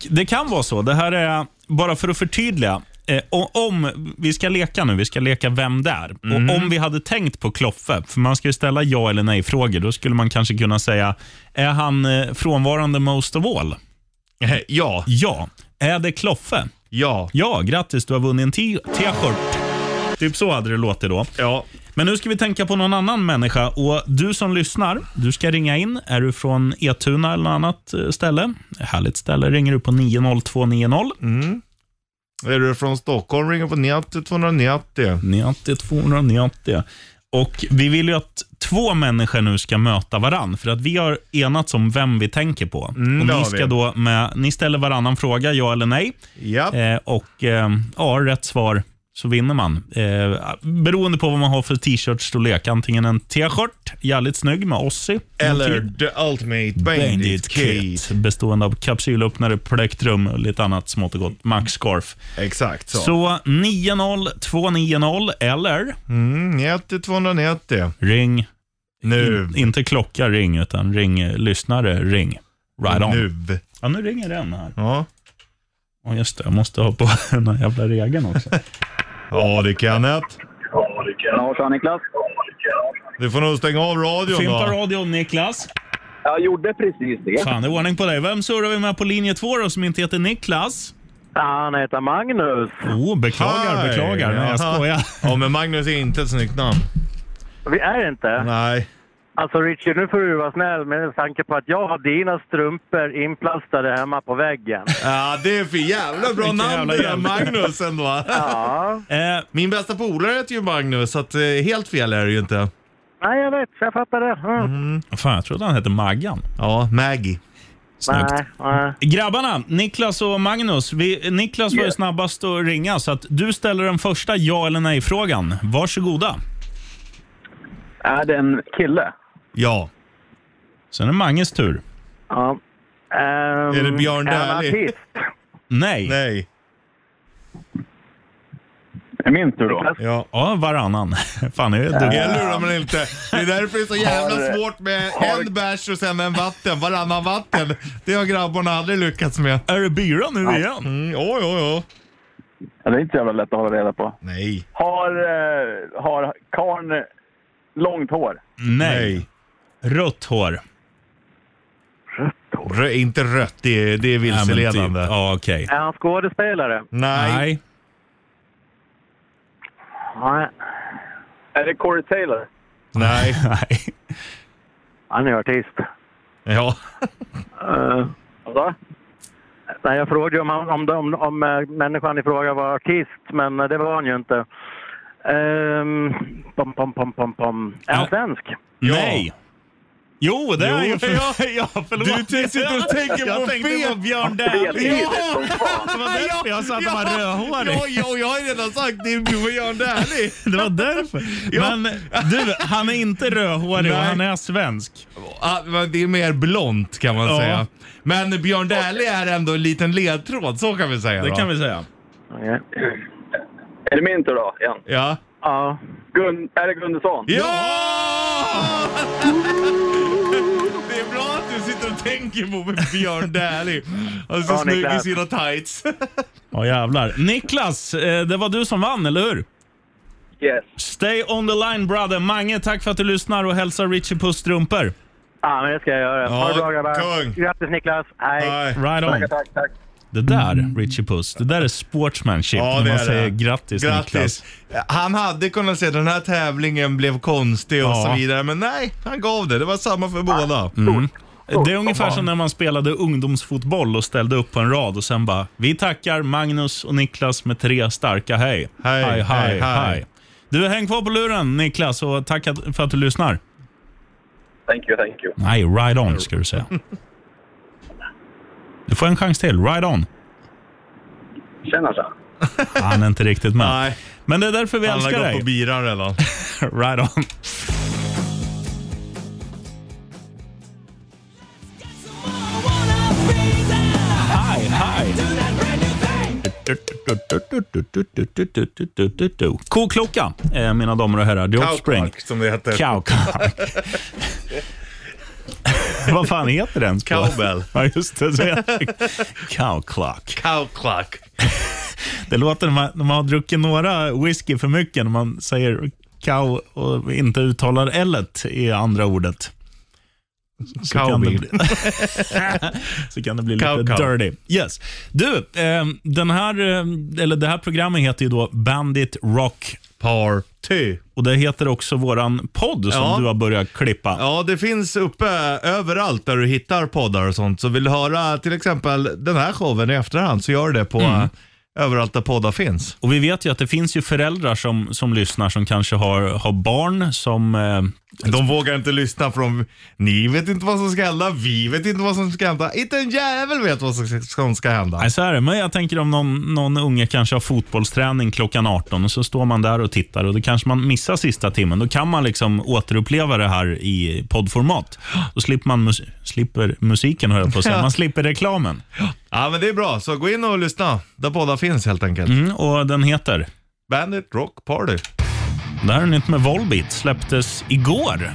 S2: Det kan vara så. Det här är, bara för att förtydliga, eh, o- om vi ska leka nu, vi ska leka Vem där? Och om vi hade tänkt på Kloffe, för man ska ju ställa ja eller nej-frågor, då skulle man kanske kunna säga, är han eh, frånvarande most of all?
S3: Eh, Ja,
S2: Ja. Är det Kloffe?
S3: ja.
S2: Ja, grattis, du har vunnit en t- t-shirt. Typ så hade det låtit då.
S3: Ja,
S2: Men nu ska vi tänka på någon annan människa och du som lyssnar, du ska ringa in. Är du från Etuna eller något annat eh, ställe? Härligt ställe. Ringer du på 90290.
S3: Mm. är du från Stockholm ringer på 90 290.
S2: 90 290. Och vi vill ju att två människor nu ska möta varann, för att vi har enats om vem vi tänker på.
S3: Mm,
S2: och
S3: det
S2: ni,
S3: har
S2: ska
S3: vi.
S2: då med, ni ställer varannan fråga, ja eller nej.
S3: Ja,
S2: Eh, och eh, ja, rätt svar så vinner man. Eh, beroende på vad man har för t-shirt-storlek. Antingen en t-shirt, jävligt snygg med Ozzy.
S3: Eller The Ultimate Bandit,
S2: Bandit
S3: Kit.
S2: Kit, bestående av kapsylöppnare, plektrum och lite annat smått och gott. Max-scarf.
S3: Exakt så.
S2: Så 90290 eller
S3: Mm, 90 290.
S2: ring,
S3: Nu.
S2: inte klocka ring, utan ring eh, lyssnare ring. Right on.
S3: Nu.
S2: Ja, nu ringer den här.
S3: Ja.
S2: Ja, just det. Jag måste ha på den här jävla regeln också.
S3: ja, det kan ett.
S6: Ja, tja Niklas.
S3: Du får nog stänga av radion
S2: Fimpa
S3: då.
S2: radion, Niklas.
S6: Jag gjorde precis det.
S2: Fan, det är ordning på dig. Vem surrar vi med på linje två då, som inte heter Niklas?
S6: Han heter Magnus.
S2: Oh, beklagar,
S3: Hej.
S2: beklagar. Nej, jag
S3: Jaha.
S2: skojar.
S3: Ja, men Magnus är inte ett snyggt namn.
S6: Vi är inte.
S3: Nej.
S6: Alltså Richard, nu får du vara snäll med tanke på att jag har dina strumpor inplastade hemma på väggen.
S3: Ja, det är för jävla bra
S2: Vilken
S3: namn
S2: jävla
S3: det där
S2: hjälp.
S3: Magnus ändå va?
S6: Ja.
S2: Eh,
S3: Min bästa polare heter ju Magnus, så att, eh, helt fel är det ju inte.
S6: Nej, jag vet. Jag fattar det. Mm.
S2: fan, jag trodde han hette Maggan.
S3: Ja, Maggie.
S2: Snyggt.
S6: Nej, nej.
S2: Grabbarna, Niklas och Magnus. Vi, Niklas var ju snabbast att ringa, så att du ställer den första ja eller nej-frågan. Varsågoda.
S6: Är det en kille?
S3: Ja.
S2: Sen är Manges tur.
S6: Ja. är
S3: det Björn
S6: är han
S3: Dählie?
S6: artist?
S2: Nej.
S3: Nej.
S5: Är min tur då?
S3: Ja.
S2: Ja, varannan. Fan, jag är duktig.
S3: Jag lurar man inte. Det är därför det är så jävla svårt med en bärs och sen en vatten, varannan vatten. Det har grabbarna aldrig lyckats med.
S2: Är det bira nu igen?
S3: Mm, ja, ja, ja.
S5: Ja, Det är inte så jävla lätt att hålla reda på.
S3: Nej.
S5: Har, eh, har karln långt hår?
S2: Nej. Rött hår.
S3: Rö- inte rött, det är, det är
S2: Ja, men typ.
S3: vilseledande.
S2: Ja, okej.
S6: Är han skådespelare?
S3: Nej.
S2: Nej.
S6: Nej.
S5: Är det Corey Taylor?
S3: Nej.
S2: Nej.
S6: Han är artist.
S3: Ja.
S5: Va?
S6: Nej, jag frågade ju om, han, om, om, om eh, människan i fråga var artist, men eh, det var han ju inte. Ehm, pom, pom, pom, pom, pom. Är han
S2: Ja.
S6: svensk?
S3: Ja.
S2: Nej. Jo, det är
S3: Jo,
S2: ju för...
S3: ja.
S2: ja, förlåt.
S3: Du sitter och tänker
S2: jag
S3: på
S2: tänkte
S3: fel.
S2: på Björn Dählie. Det var därför jag sa att han var rödhårig.
S3: Ja, ja, jag har ju redan sagt det är Björn Dählie.
S2: Det var därför.
S3: Ja.
S2: Men du, han är inte rödhårig och
S3: Nej.
S2: han är svensk.
S3: Ja, Ah, men Det är mer blont kan man
S2: Ja.
S3: säga. Men Björn Dählie är ändå en liten ledtråd, så kan vi säga.
S2: Det
S3: då.
S2: kan vi säga.
S6: Okej.
S5: Är det min tur då? Igen.
S3: Ja.
S6: Ja.
S5: Gun, är det Gunnarsson?
S3: Ja! Det är bra att du sitter och tänker på Björn Dählie. Han är så
S6: Ja,
S3: snygg i
S6: Niklas.
S3: sina tights.
S2: Ja, jävlar. Niklas, eh, det var du som vann, eller hur?
S5: Yes.
S2: Stay on the line, brother. Mange, tack för att du lyssnar och hälsa Richie på strumpor.
S6: ja, men det ska jag göra.
S3: Ja,
S6: ha det bra
S3: kung.
S6: grabbar. Grattis Niklas. Hej.
S3: Nej.
S2: Right on.
S5: Tack, tack.
S2: Det där, Richie Puss, det där är sportsmanship.
S3: Ja,
S2: när
S3: det
S2: man
S3: är
S2: säger
S3: det.
S2: grattis, Niklas.
S3: Han hade kunnat säga den här tävlingen blev konstig och
S2: Ja. Mm.
S3: så vidare, men nej, han gav det. Det var samma för båda.
S2: Det är ungefär som när man spelade ungdomsfotboll och ställde upp på en rad och sen bara Vi tackar Magnus och Niklas med tre starka hej.
S3: Hej,
S2: hej, hej.
S3: hej, hej.
S2: hej. Du, häng kvar på luren Niklas och tack att- för att du lyssnar.
S5: Thank you, thank you.
S2: Nej, right on ska du säga. Du får en chans till. Right on.
S5: Tjena, tjena.
S2: Han är inte riktigt med.
S3: Nej,
S2: Men det är därför vi
S3: han har
S2: älskar
S3: gått på
S2: dig.
S3: biran redan.
S2: Right on. Hi, hi. Koklocka, eh, mina damer och herrar. The Offspring.
S3: Cowpark, som det heter.
S2: Cowcock. Vad fan heter den?
S3: Cowbell.
S2: Ja, just det. Så heter det. Cowclock.
S3: Cowclock.
S2: Det låter när man, när man har druckit några whisky för mycket, när man säger cow och inte uttalar l i andra ordet. Så kan, det
S3: Cowbill.
S2: bli, så kan det bli
S3: Cow,
S2: lite
S3: cow.
S2: dirty. Yes. Du, eh, den här, eh, eller det här programmet heter ju då Bandit Rock
S3: Party.
S2: och det heter också våran podd som
S3: Ja.
S2: du har börjat klippa.
S3: Ja, det finns uppe överallt där du hittar poddar och sånt. Så vill du höra till exempel den här showen i efterhand så gör det på
S2: Mm.
S3: eh, överallt där poddar finns.
S2: Och Vi vet ju att det finns ju föräldrar som, som lyssnar som kanske har, har barn som eh,
S3: De vågar inte lyssna för de, ni vet inte vad som ska hända, vi vet inte vad som ska hända. Inte en jävel vet vad som- som ska hända.
S2: Nej, så är det. Men jag tänker om någon, någon unge kanske har fotbollsträning klockan 18 och så står man där och tittar och då kanske man missar sista timmen. Då kan man liksom återuppleva det här i poddformat. Då slipper man mus- slipper musiken, höll jag på att säga. Man slipper reklamen.
S3: Ja men det är bra, så gå in och lyssna där båda finns helt enkelt.
S2: Mm, och den heter?
S3: Bandit Rock Party.
S2: Det här är nytt med Volbeat. Släpptes igår.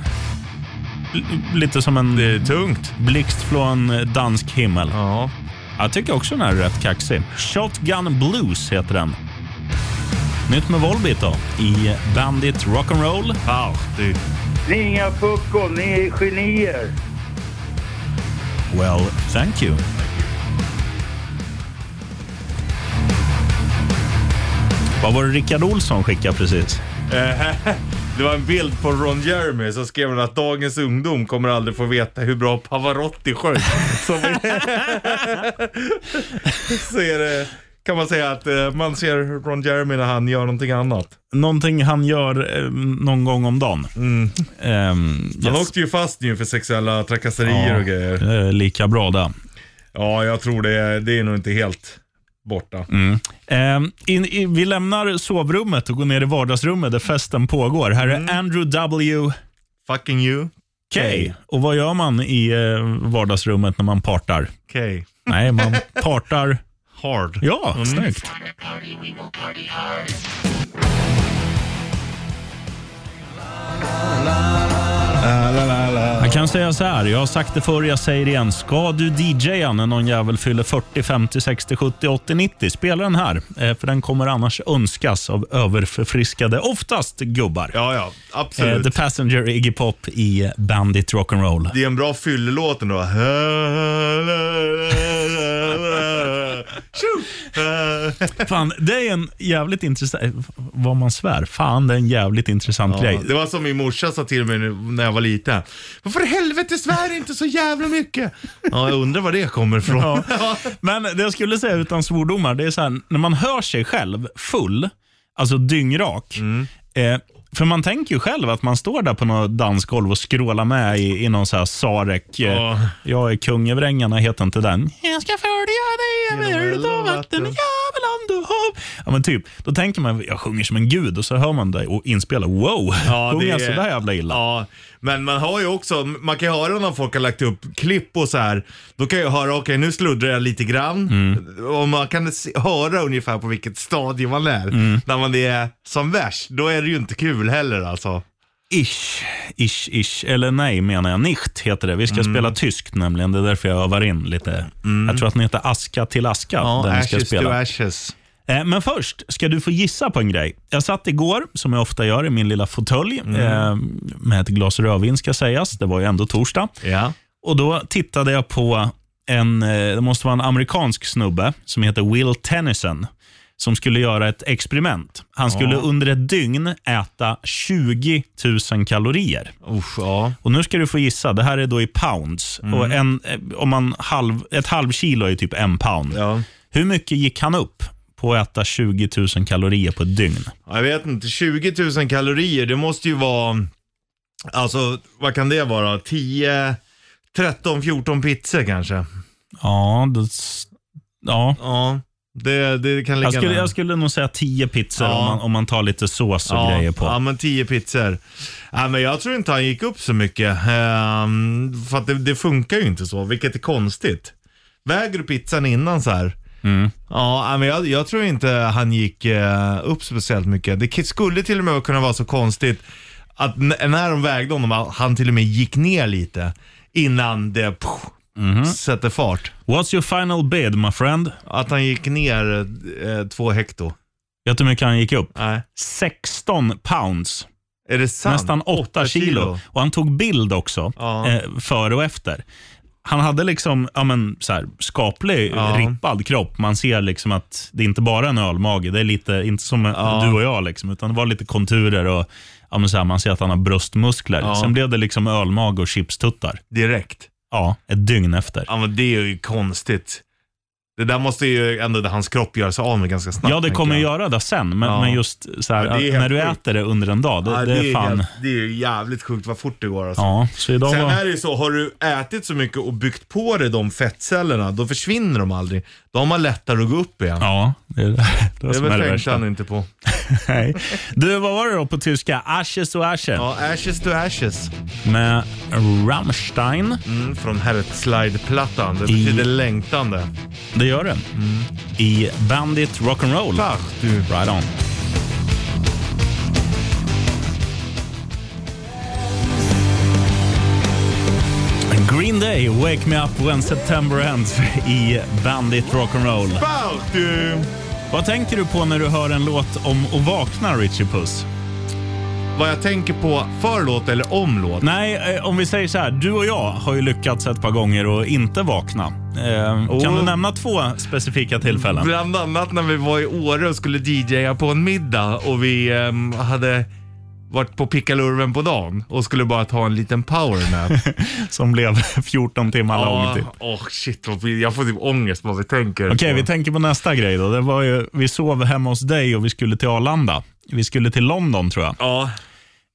S2: L- lite som en
S3: Det är tungt.
S2: blixt från dansk himmel.
S3: Ja.
S2: Jag tycker också den här är rätt kaxig. Shotgun Blues heter den. Nytt med Volbeat då, i Bandit Rock'n'Roll.
S3: Wow, det är
S5: Ni är inga puckon, ni är genier.
S2: Well, thank you. Vad var det Rickard Olsson skickade precis?
S3: Det var en bild på Ron Jeremy som skrev han att dagens ungdom kommer aldrig få veta hur bra Pavarotti sjöng. Så, så är det, kan man säga att eh, man ser Ron Jeremy när han gör någonting annat.
S2: Någonting han gör eh, någon gång om dagen.
S3: Mm.
S2: Ehm,
S3: Han
S2: yes.
S3: åkte ju fast nu för sexuella trakasserier och grejer.
S2: det är eh, lika bra det.
S3: Ja, jag tror det, är- det är nog inte helt borta.
S2: Ehm, in, i, vi lämnar sovrummet och går ner i vardagsrummet där festen pågår. Här är Andrew W.
S3: Fucking you.
S2: K. Och vad gör man i eh, vardagsrummet när man partar?
S3: K.
S2: Nej, man partar...
S3: Hard.
S2: Ja, snyggt. Jag kan säga så här, jag har sagt det förr, jag säger det igen. Ska du DJa när någon jävel fyller 40, 50, 60, 70, 80, 90, spela den här. Eh, För den kommer annars önskas av överförfriskade, oftast gubbar.
S3: Ja, ja.
S2: Eh,
S3: Absolut.
S2: The Passenger, Iggy Pop i Bandit Rock'n'Roll.
S3: Det är en bra fyllelåt ändå. Tjo!
S2: Fan, det är en jävligt intressant... Vad man svär. Fan, det är en jävligt intressant grej.
S3: Ja, det var som min morsa sa till mig nu- när jag var liten. Varför i helvete svär inte så jävla mycket? Ja, jag undrar var det kommer ifrån.
S2: Ja. Men det jag skulle säga utan svordomar, det är så här, när man hör sig själv full, alltså dyngrak, eh, för man tänker ju själv att man står där på något dansgolv och skrålar med i, i någon så här Sarek. eh,
S3: Ja.
S2: Jag är kung över ängarna, heter inte den. Jag ska följa dig
S3: Genom
S2: över
S3: eld
S2: eld och
S3: och
S2: vatten,
S3: vatten.
S2: jävel om du har... Ja men typ, då tänker man jag sjunger som en gud och så hör man dig och inspelar, wow,
S3: Ja,
S2: sjunger
S3: det
S2: jag
S3: är-
S2: sådär jävla illa?
S3: Ja, men man har ju också, man kan ju höra när folk har lagt upp klipp och så här. Då kan jag höra, okej nu sluddrar jag lite grann.
S2: Mm.
S3: Och man kan se, höra ungefär på vilket stadie man är.
S2: Mm.
S3: När man är som värst, då är det ju inte kul heller alltså.
S2: Ish, ish, ish. Eller nej menar jag. Nicht heter det. Vi ska
S3: Mm.
S2: spela tyskt nämligen. Det är därför jag övar in lite. Jag tror att den heter Aska till aska. den vi ska
S3: ashes to
S2: spela.
S3: ashes.
S2: Eh, Men först ska du få gissa på en grej. Jag satt igår, som jag ofta gör, i min lilla fåtölj
S3: Mm.
S2: eh, med ett glas rödvin ska sägas. Det var ju ändå torsdag.
S3: Ja.
S2: Och Då tittade jag på en, eh, det måste vara en amerikansk snubbe som heter Will Tennyson som skulle göra ett experiment. Han skulle under ett dygn äta 20 000 kalorier.
S3: Usch, ja.
S2: Och Nu ska du få gissa. Det här är då i pounds.
S3: Mm.
S2: Och en, eh, om man halv, ett halv kilo är typ en pound.
S3: ja.
S2: Hur mycket gick han upp på att äta 20 000 kalorier på ett dygn?
S3: Jag vet inte, 20 000 kalorier, det måste ju vara, alltså vad kan det vara? 10, 13, 14 pizzor kanske?
S2: Ja, det, s- ja.
S3: Ja, det, det kan ligga
S2: Jag skulle,
S3: nära.
S2: jag skulle nog säga 10 pizzor
S3: Ja.
S2: om, man, om man tar lite sås och
S3: ja,
S2: grejer på.
S3: ja, men 10 pizzor. Ja, men jag tror inte han gick upp så mycket. Ehm, för att det, det funkar ju inte så, vilket är konstigt. Väger du pizzan innan så här?
S2: Mm.
S3: Ja, ja, men jag, jag tror inte han gick eh, upp speciellt mycket. Det k- skulle till och med kunna vara så konstigt att n- när de vägde honom, att han till och med gick ner lite innan det pff,
S2: Mhm.
S3: sätter fart.
S2: What's your final bid, my friend?
S3: Att han gick ner eh, två hekto.
S2: Vet du hur mycket han gick upp?
S3: Nej.
S2: 16 pounds.
S3: Är det sant?
S2: Nästan 8
S3: Åtta
S2: kilo. Och han tog bild också,
S3: Ja.
S2: eh, före och efter. Han hade liksom, ja men så här, skaplig,
S3: Ja.
S2: rippad kropp. Man ser liksom att det är inte bara en ölmage. Det är lite, inte som du och jag, liksom, utan det var lite konturer och ja, men så här, man ser att han har bröstmuskler.
S3: Ja.
S2: Sen blev det liksom ölmage och chipstuttar.
S3: Direkt.
S2: Ja, ett dygn efter.
S3: Ja men det är ju konstigt. Det där måste ju ändå hans kropp göra sig av med ganska snabbt.
S2: Ja, det
S3: tänker
S2: kommer
S3: jag.
S2: göra det sen, men,
S3: Ja.
S2: men just så här,
S3: Ja, det är helt
S2: när du
S3: sjukt.
S2: äter det under en dag, det,
S3: Ja,
S2: det är fan...
S3: helt- det är ju jävligt sjukt vad fort det går alltså.
S2: Ja, så idag
S3: Sen
S2: var...
S3: är det ju så, har du ätit så mycket och byggt på dig de fettcellerna, då försvinner de aldrig. Då har man lättare att gå upp igen.
S2: Ja, det är det, det,
S3: det
S2: som är det
S3: tänkte
S2: värsta.
S3: han inte på.
S2: Nej. Du, vad var det då på tyska? Asches och Asche
S3: Ja, Ashes to Ashes
S2: med Rammstein.
S3: mm, från Herzlide-plattan. Det betyder längtande.
S2: Det gör det. I Bandit Rock'n'Roll.
S3: Fuck, du.
S2: Right on. Green Day, Wake Me Up When September Ends i Bandit Rock'n'Roll.
S3: Fuck, du.
S2: Vad tänker du på när du hör en låt om att vakna, Richie Puss?
S3: Vad jag tänker på, för låt eller om låt?
S2: Nej, eh, om vi säger så här. Du och jag har ju lyckats ett par gånger att inte vakna. Eh, Kan
S3: Oh.
S2: du nämna två specifika tillfällen?
S3: Bland annat när vi var i Åre och skulle DJa på en middag och vi ehm, hade varit på pickalurven på dagen och skulle bara ta en liten powernap.
S2: Som blev 14 timmar lång. Typ.
S3: Ja, Åh shit, vad- jag får typ ångest bara vi tänker.
S2: Okej,
S3: på.
S2: vi tänker på nästa grej då. Det var ju, vi sov hemma hos dig och vi skulle till Arlanda. Vi skulle till London tror jag.
S3: Ja,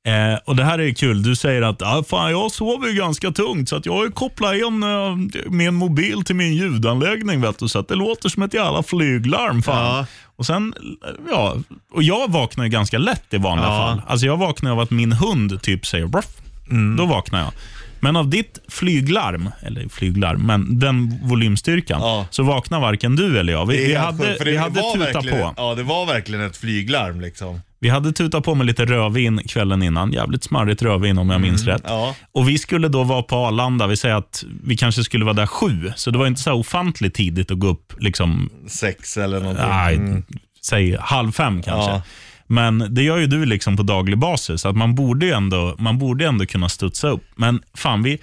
S2: Eh, och Det här är ju kul. Du säger att ah, fan, jag sover ju ganska tungt så att jag har ju kopplat in eh, min mobil till min ljudanläggning vet du, så att det låter som ett jävla flyglarm. Fan.
S3: Ja.
S2: Och sen, eh, ja, och jag vaknar ju ganska lätt i vanliga
S3: Ja.
S2: fall. Alltså jag vaknar av att min hund typ säger bruff.
S3: Mm.
S2: Då vaknar jag. Men av ditt flyglarm, eller flyglarm, men den volymstyrkan,
S3: Ja.
S2: så vaknar varken du eller jag. Vi,
S3: det är
S2: vi
S3: helt
S2: hade,
S3: sjukt, för
S2: vi hade
S3: var
S2: tuta
S3: verkligen-
S2: på.
S3: Ja, det var verkligen ett flyglarm liksom.
S2: Vi hade tutat på med lite rödvin kvällen innan. Jävligt smarrigt rödvin om
S3: Mm.
S2: jag minns rätt.
S3: ja.
S2: Och Vi skulle då vara på Arlanda. Vi säger att vi kanske skulle vara där sju, så det var inte så här ofantligt tidigt att gå upp, liksom,
S3: Sex eller någonting.
S2: nej, säg halv fem kanske.
S3: Ja.
S2: Men det gör ju du liksom på daglig basis, så att man borde ju ändå, man borde ju ändå kunna studsa upp. Men fan, vi,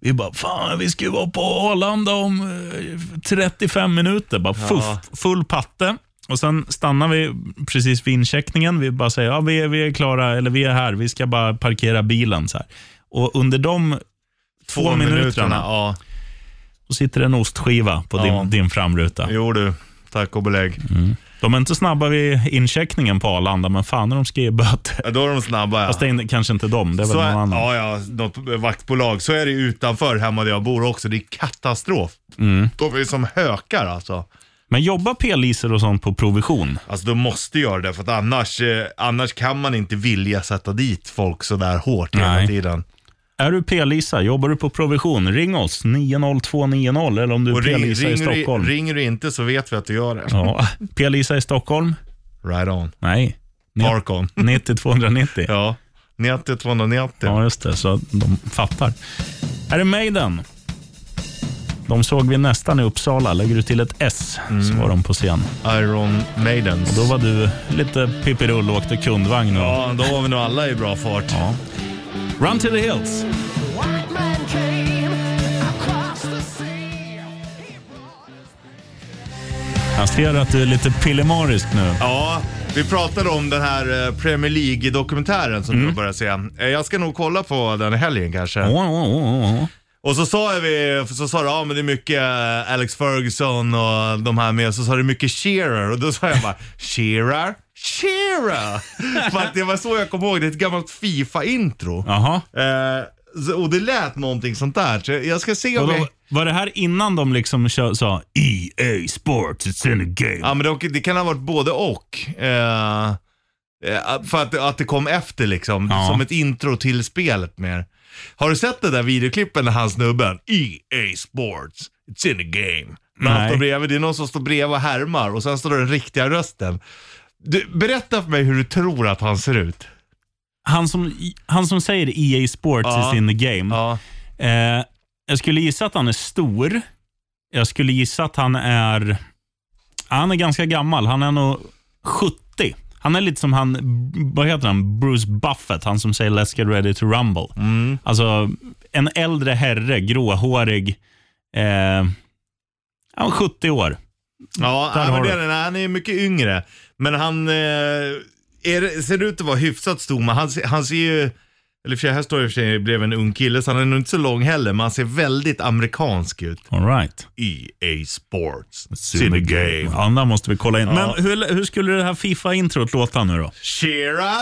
S2: vi bara, fan vi ska ju vara på Arlanda om eh, 35 minuter. Bara fuff, full patte. Och sen stannar vi precis vid incheckningen. Vi bara säger, ja vi är, vi är klara, eller vi är här, vi ska bara parkera bilen. Så här. Och under de två, minuterna,
S3: Ja,
S2: så sitter det en ostskiva på
S3: Ja.
S2: din, din framruta.
S3: jo du. Tack och belägg.
S2: De är inte snabba vid incheckningen på Arlanda, men fan när de ska ge böter.
S3: Ja, då är de snabba ja.
S2: Fast det är in- kanske inte de, det är väl
S3: Så
S2: någon
S3: är,
S2: annan.
S3: ja, ja, något vaktbolag. Så är det ju utanför hemma där jag bor också. Det är katastrof.
S2: Mm.
S3: De är som hökar alltså.
S2: Men jobbar p-liser och sånt på provision?
S3: Alltså de måste göra det för att annars, eh, annars kan man inte vilja sätta dit folk sådär hårt hela
S2: Nej.
S3: tiden.
S2: Är du p-lisa, jobbar du på provision? Ring oss, 90290, eller om du är
S3: Och ring,
S2: p-lisa i
S3: ringer, du,
S2: Stockholm.
S3: ringer du inte så vet vi att du gör det.
S2: Ja, p-lisa i Stockholm?
S3: Right on.
S2: Nej.
S3: Park on.
S2: 90-290. Ja.
S3: Ja. 90 290. Ja.
S2: just det. Så de fattar. Här är Maiden. De såg vi nästan i Uppsala. Lägger du till ett S
S3: Mm.
S2: så var de på scen.
S3: Iron Maidens.
S2: Då var du lite pippirull och åkte kundvagn. Och...
S3: Ja, då var vi nog alla i bra fart.
S2: Ja. Run to the hills. Jag ser att du är lite pillemarisk nu.
S3: Ja, vi pratade om den här eh, Premier League-dokumentären som du börjar se. Eh, Jag ska nog kolla på den i helgen kanske.
S2: Åh, åh, åh, åh.
S3: Och så sa jag vi, så sa du, ja men det är mycket eh, Alex Ferguson och de här med. Så sa du mycket Shearer och då sa jag bara, Shearer? Shearer! För att det var så jag kom ihåg, det är ett gammalt Fifa-intro.
S2: Jaha.
S3: Eh, så- och det lät någonting sånt där. Så jag ska se om
S2: Vadå,
S3: jag...
S2: var det här innan de liksom kö- sa EA Sports, it's in a game?
S3: Ja men det, det kan ha varit både och. Eh, eh, för att, att det kom efter liksom,
S2: Ja.
S3: som ett intro till spelet mer. Har du sett den där videoklippen när han snubben, EA Sports, it's in a game. När han
S2: Nej.
S3: står bredvid, det är någon som står bredvid och härmar och sen står det den riktiga rösten. Du, berätta för mig hur du tror att han ser ut.
S2: Han, som, han som säger EA Sports
S3: Ja.
S2: is in the game.
S3: Ja,
S2: Eh, jag skulle gissa att han är stor. Jag skulle gissa att han är... Han är ganska gammal. Han är nog 70. Han är lite som han, vad heter han, Bruce Buffett, han som säger “Let's get ready to rumble”. Alltså, en äldre herre, gråhårig, eh, ja, 70 år.
S3: ja
S2: Där
S3: nej, men
S2: har
S3: det är,
S2: du.
S3: den. han är mycket yngre. Men han eh, är, ser ut att vara hyfsat stor, men han, ser- han ser ju Eller i och för sig, här står det i och för sig blev en ung kille, så han är nog inte så lång heller, men han ser väldigt amerikansk ut.
S2: All right.
S3: EA Sports. See the game.
S2: Ja, där måste vi kolla in. Men hur, hur skulle det här Fifa-introt låta nu då?
S3: Shira!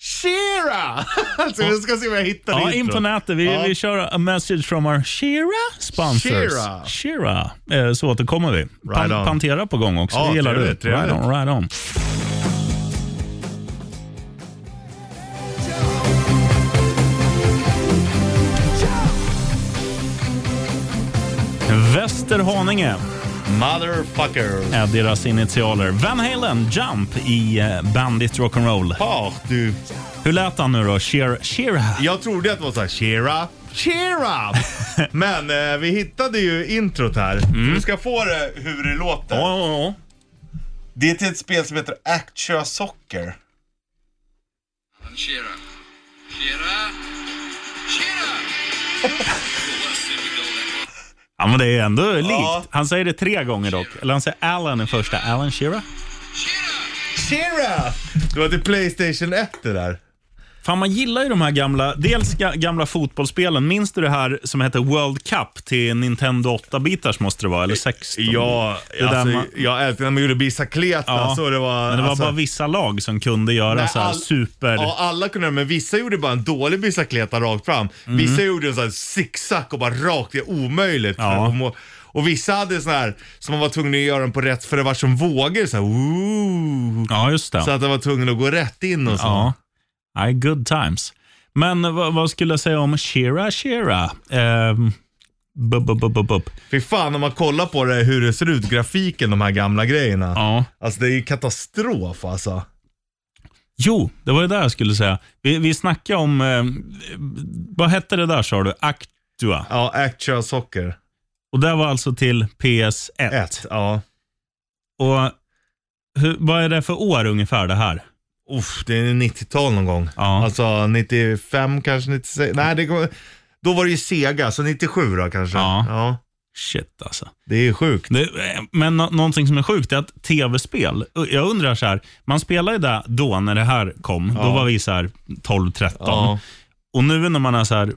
S3: Shira! alltså, jag ska se vad jag hittar
S2: Ja,
S3: i
S2: in på
S3: introt.
S2: nätet. Vi,
S3: Ja.
S2: vi kör a message from our Shira sponsors.
S3: Shira.
S2: Shira. Eh, Så återkommer vi. Pan-
S3: Right on.
S2: Pantera på gång också.
S3: Ja,
S2: det gillar
S3: trevligt,
S2: du.
S3: trevligt.
S2: Right on, right on. Västerhaninge
S3: Motherfucker.
S2: är deras initialer. Van Halen, Jump i eh, Bandit Rock'n'Roll.
S3: Ja, du.
S2: Hur lät han nu då? Shira? Shira.
S3: Jag trodde att det var såhär, Shira, Shira! Men eh, vi hittade ju introt här. Du ska få det hur det låter.
S2: Mm. Ja, ja, ja.
S3: Det är till ett spel som heter Actua Soccer.
S9: Shira. Shira. Shira.
S2: Ja, men det är ändå likt.
S3: Ja.
S2: Han säger det tre gånger dock. Eller han säger Alan i första. Alan Shearer.
S3: Shira! Det var till Playstation 1 det där.
S2: Fan, man gillar ju de här gamla, dels ga- gamla fotbollsspelen. Minns du det här som hette World Cup till Nintendo 8-bitars måste det vara, eller 16?
S3: Ja,
S2: där
S3: alltså,
S2: man-
S3: jag älskar när man gjorde bicicleta.
S2: Ja.
S3: Så det var,
S2: Men det var
S3: alltså,
S2: bara vissa lag som kunde göra
S3: nej,
S2: så här
S3: all-
S2: super...
S3: Ja, alla kunde det, men vissa gjorde bara en dålig bicicleta rakt fram. Vissa gjorde en sån här zigzag och bara rakt, det är omöjligt.
S2: Ja.
S3: Och må- Och vissa hade sån här som man var tvungen att göra den på rätt för det var som vågor så här, ooh.
S2: Ja, just det.
S3: Så att den var tvungen att gå rätt in och så.
S2: Ja. Nej, good times. Men eh, vad, vad skulle jag säga om Shira Shira? Ehm, bub, bub, bub, bub, bub.
S3: Fy fan om man kollar på det hur det ser ut, grafiken, de här gamla grejerna.
S2: Ja.
S3: Alltså det är ju katastrof alltså.
S2: Jo, det var det där jag skulle säga. Vi, vi snackade om, eh, vad hette det där sa du? Actua.
S3: Ja, actual soccer.
S2: Och det var alltså till PS1.
S3: Ett, ja.
S2: Och hur, vad är det för år ungefär det här?
S3: Uff, det är 90-tal någon gång.
S2: Ja.
S3: Alltså 95 kanske, 96. Nej, det kommer, då var det ju Sega, så 97 då kanske.
S2: Ja. Shit alltså.
S3: det är ju sjukt.
S2: Det, eh, men nå- någonting som är sjukt är att tv-spel, jag undrar så här, man spelade ju det då när det här kom, då
S3: Ja.
S2: var vi så här 12-13.
S3: Ja.
S2: Och nu när man är så här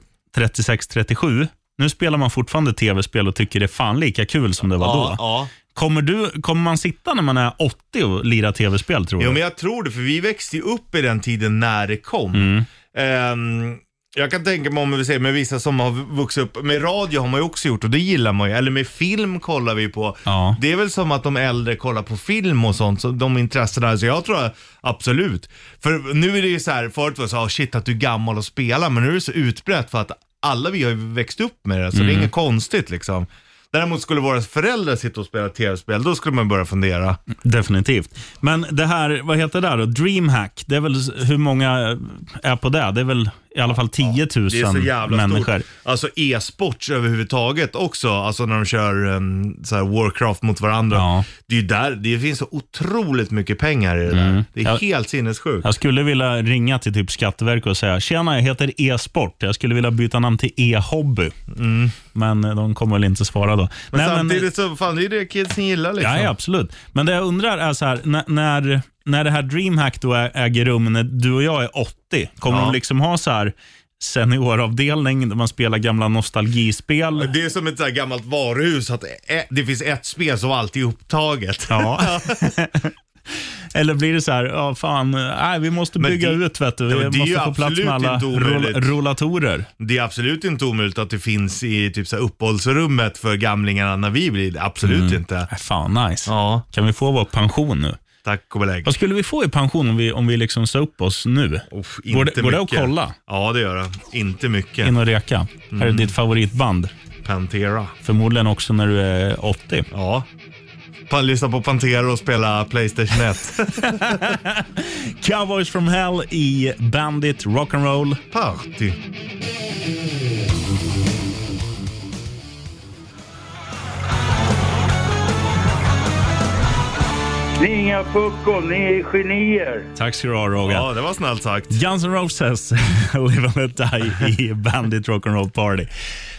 S2: 36-37, nu spelar man fortfarande tv-spel och tycker det är fan lika kul som det var då.
S3: ja.
S2: Kommer, du, kommer man sitta när man är 80 och lira tv-spel tror du?
S3: Jo, men jag tror det, för vi växte ju upp i den tiden när det kom.
S2: Mm.
S3: Ehm, jag kan tänka mig om vi säger med vissa som har vuxit upp, med radio har man ju också gjort och det gillar man ju, eller med film kollar vi på.
S2: Ja.
S3: Det är väl som att de äldre kollar på film och sånt, så de intressena, så jag tror absolut. För nu är det ju så här, förut var det så här, shit att du är gammal och spelar, men nu är det så utbrett för att alla vi har ju växt upp med det, så
S2: Mm.
S3: det är inget konstigt liksom. Däremot skulle våra föräldrar sitta och spela tv-spel, då skulle man börja fundera.
S2: Definitivt. Men det här, vad heter det där då? Dreamhack, det är väl, hur många är på det? Det är väl i alla fall 10 000
S3: Det är så jävla
S2: människor.
S3: stort. Alltså e-sports överhuvudtaget också. Alltså när de kör em, så här Warcraft mot varandra.
S2: Ja.
S3: Det är ju där, det finns så otroligt mycket pengar i det
S2: Mm.
S3: där. Det är helt sinnessjukt.
S2: Jag skulle vilja ringa till typ Skatteverket och säga “Tjena, jag heter e-sport. Jag skulle vilja byta namn till e-hobby”. Men eh, de kommer väl inte svara då.
S3: Mm. Men
S2: Nej, eh,
S3: samtidigt så, fan det är det kidsen gillar liksom.
S2: Ja, ja, absolut. Men det jag undrar är så här, när, när, när det här DreamHack då ä- äger rum, när du och jag är 80, kommer
S3: Ja.
S2: de liksom ha så här senioravdelning där man spelar gamla nostalgispel?
S3: Det är som ett så här gammalt varuhus, att e- det finns ett spel som alltid är upptaget.
S2: Ja. Eller blir det så här, ja fan, nej, vi måste
S3: Men
S2: bygga
S3: det-
S2: ut vet du. Vi
S3: Ja, men det är
S2: måste
S3: ju
S2: få plats
S3: absolut
S2: med alla
S3: inte
S2: roll,
S3: omöjligt.
S2: rollatorer.
S3: Det är absolut inte omöjligt att det finns i typ så här uppehållsrummet för gamlingarna när vi blir det. Absolut inte.
S2: Äh, fan nice.
S3: Ja,
S2: Kan vi få vår pension nu?
S3: tack och belägg.
S2: Vad skulle vi få i pension om vi, om vi liksom sa upp oss nu?
S3: Uff,
S2: Går det-
S3: inte
S2: går det att
S3: mycket.
S2: kolla?
S3: Ja, det gör det. Inte mycket.
S2: In och reka. Här är
S3: Mm.
S2: ditt favoritband.
S3: Pantera.
S2: Förmodligen också när du är 80.
S3: Ja. Pa- lyssna på Pantera och spela Playstation 1.
S2: Cowboys from Hell i Bandit Rock'n'Roll.
S3: Party.
S5: Ni är inga puckon, ni är genier.
S2: Tack ska du ha Roger.
S3: Ja, det var snällt sagt.
S2: Guns N' Roses, Live and Let Die i Bandit Rock'n'Roll Party.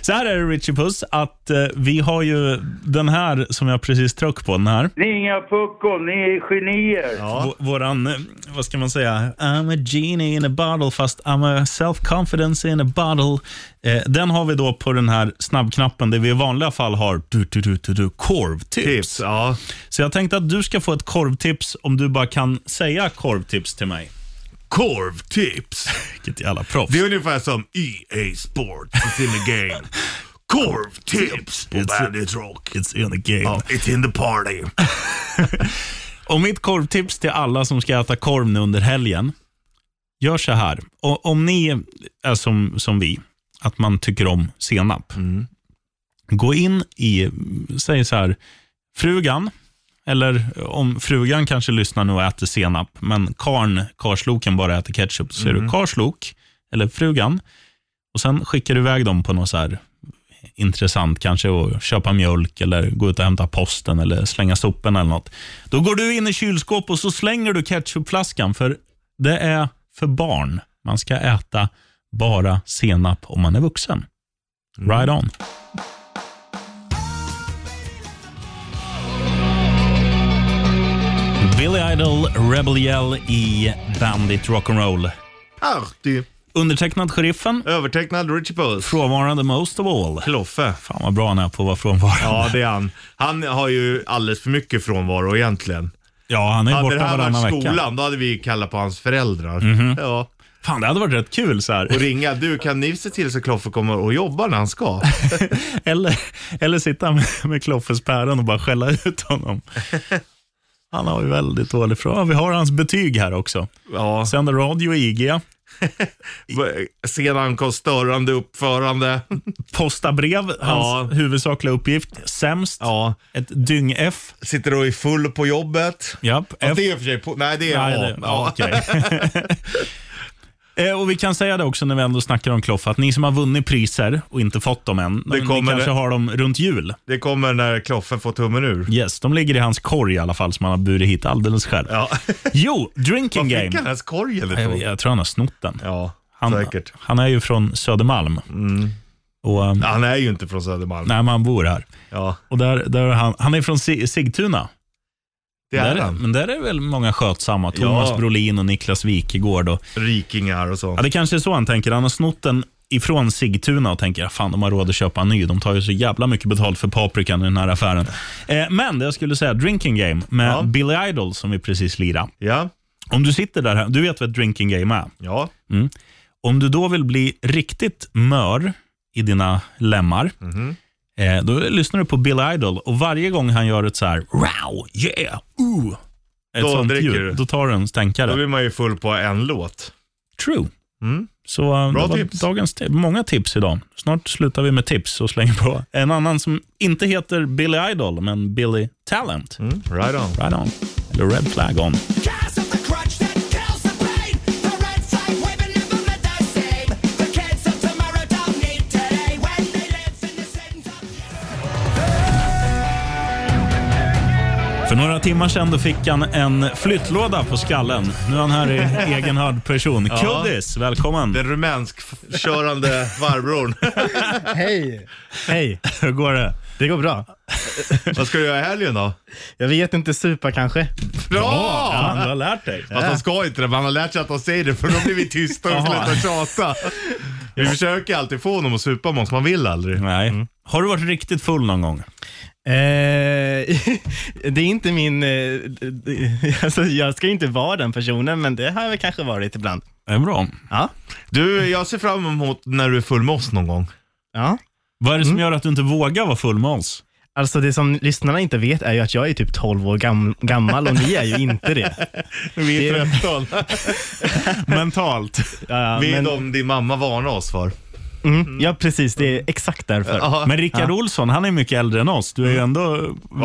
S2: Så här är det Richie Puss, att eh, vi har ju den här som jag precis tryckte på. Den här.
S5: Ni är inga puckon, ni är genier.
S2: V- våran, eh, vad ska man säga, I'm a genie in a bottle fast I'm a self-confidence in a bottle. Eh, den har vi då på den här snabbknappen där vi i vanliga fall har du, du, du, du, du, korvtips.
S3: Tips, ja.
S2: Så jag tänkte att du ska få ett korvtips om du bara kan säga korvtips till mig.
S3: Korvtips.
S2: Vilket jävla proffs.
S3: Det är ungefär som EA Sports is in the game. Korvtips på
S2: It's-
S3: Bandit Rock.
S2: It's in the game.
S3: Ja, it's in the party.
S2: Och mitt korvtips till alla som ska äta korv nu under helgen. Gör så här. O- om ni är som, som vi, att man tycker om senap. Gå in i, säg så här, frugan, eller om frugan kanske lyssnar nu och äter senap, men karn, karsloken bara äter ketchup, så är du karslok, eller frugan, och sen skickar du iväg dem på något så här intressant kanske att köpa mjölk eller gå ut och hämta posten eller slänga soporna eller något. Då går du in i kylskåp och så slänger du ketchupflaskan för det är för barn. Man ska äta bara senap om man är vuxen. Right on. Billy Idol, Rebel Yell i Bandit Rock'n'Roll.
S3: Artig.
S2: Undertecknad Sheriffen,
S3: Övertecknad Richie Puss.
S2: frånvarande most of all.
S3: Kloffe.
S2: Fan vad bra han är på att vara frånvarande.
S3: Ja, det är han. Han har ju alldeles för mycket frånvaro egentligen.
S2: Ja, han är ju
S3: Hade det
S2: borta
S3: här
S2: varannan
S3: varit
S2: vecka.
S3: skolan, då hade vi kallat på hans föräldrar. Ja.
S2: Fan, det hade varit rätt kul så
S3: Och
S2: här.
S3: ringa, du kan ni se till så Kloffe kommer och jobbar när han ska?
S2: Eller, eller sitta med, med Kloffes päron och bara skälla ut honom. Han har ju väldigt dålig fråga. Vi har hans betyg här också.
S3: Ja.
S2: Sänder radio i IG,
S3: Sen ankomst, störande uppförande.
S2: posta brev, hans
S3: Ja.
S2: huvudsakliga uppgift, sämst,
S3: Ja.
S2: ett dyng-F.
S3: Sitter och är full på jobbet.
S2: Japp,
S3: Ja,
S2: F.
S3: det är i och för sig på, Nej, det är
S2: Nej,
S3: A.
S2: det-
S3: ja.
S2: ja, okej. Eh, Och Vi kan säga det också när vi ändå snackar om Kloff, att ni som har vunnit priser och inte fått dem än, men ni
S3: kommer-
S2: kanske har dem runt jul.
S3: Det kommer när Kloffe får tummen ur.
S2: Yes, de ligger i hans korg i alla fall som han har burit hit alldeles själv.
S3: Ja.
S2: Jo,
S3: Var
S2: drinking
S3: fick han
S2: game.
S3: ens korgen
S2: Jag,
S3: ifrån?
S2: jag tror han har snott den.
S3: Ja,
S2: han,
S3: säkert. Mm.
S2: han är ju från Södermalm. Och, um,
S3: Han är ju inte från Södermalm.
S2: Nej, men han bor här.
S3: Ja,
S2: Och där, där är han, han är från Si- Sigtuna.
S3: det är
S2: där,
S3: han.
S2: Men där är väl många skötsamma. Thomas Brolin och Niklas Wikegård. Och,
S3: Rikingar och
S2: ja,
S3: sånt.
S2: det kanske är så han tänker. Han har snott den ifrån Sigtuna och tänker fan de har råd att köpa en ny. De tar ju så jävla mycket betalt för paprikan i den här affären. Eh, men det jag skulle säga, Drinking Game med
S3: Ja.
S2: Billy Idol som vi precis lirade.
S3: Ja,
S2: Om du sitter där, här- du vet vad ett drinking game är.
S3: ja.
S2: Om du då vill bli riktigt mör i dina lemmar,
S3: Mhm.
S2: eh, då lyssnar du på Bill Idol och varje gång han gör ett så här wow, yeah, ooh, ett
S3: Då
S2: sånt
S3: dricker
S2: ljud,
S3: du.
S2: då tar du en
S3: Då
S2: stänkare.
S3: blir man ju full på en låt.
S2: True. Så eh,
S3: Bra
S2: det var
S3: tips.
S2: dagens ti- Många tips idag. Snart slutar vi med tips och slänger på en annan som inte heter Billy Idol, men Billy Talent.
S3: Mm, right on.
S2: Right on. Eller Red Flag on. För några timmar sedan då fick han en flyttlåda på skallen. Nu är han här i egen hörd person. Kuddis, välkommen.
S3: Den rumänsk-körande farbrorn.
S10: Hej! Hej!
S2: Hur går det?
S10: Det går bra.
S3: Vad ska du göra i helgen då?
S10: Jag vet inte, supa kanske?
S3: Bra!
S2: Fan, du har lärt dig.
S3: Fast han ska inte det, men han har lärt sig att han säger det för då blir vi tysta och slutar tjata. Vi försöker alltid få honom att supa Måns, man vill aldrig.
S2: Nej.
S10: Mm.
S2: Har du varit riktigt full någon gång?
S10: Eh, det är inte min... Eh, d- d- alltså, jag ska ju inte vara den personen, men det har jag väl kanske varit ibland.
S2: Det är bra.
S10: Ja.
S3: Du, jag ser fram emot när du är full med oss någon gång.
S10: ja.
S2: Vad är det som
S10: Mm.
S2: gör att du inte vågar vara full med oss?
S10: Alltså det som lyssnarna inte vet är ju att jag är typ 12 år gam- gammal och ni är ju inte det.
S3: Vi
S10: Det-
S3: är 13.
S2: Mentalt.
S10: Ja,
S3: Vi är
S10: men,
S3: de din mamma varnar oss för.
S10: mm, ja precis. Det är exakt därför.
S2: Men Rickard Olsson, han är mycket äldre än oss.
S10: Mm.
S2: Du är ju ändå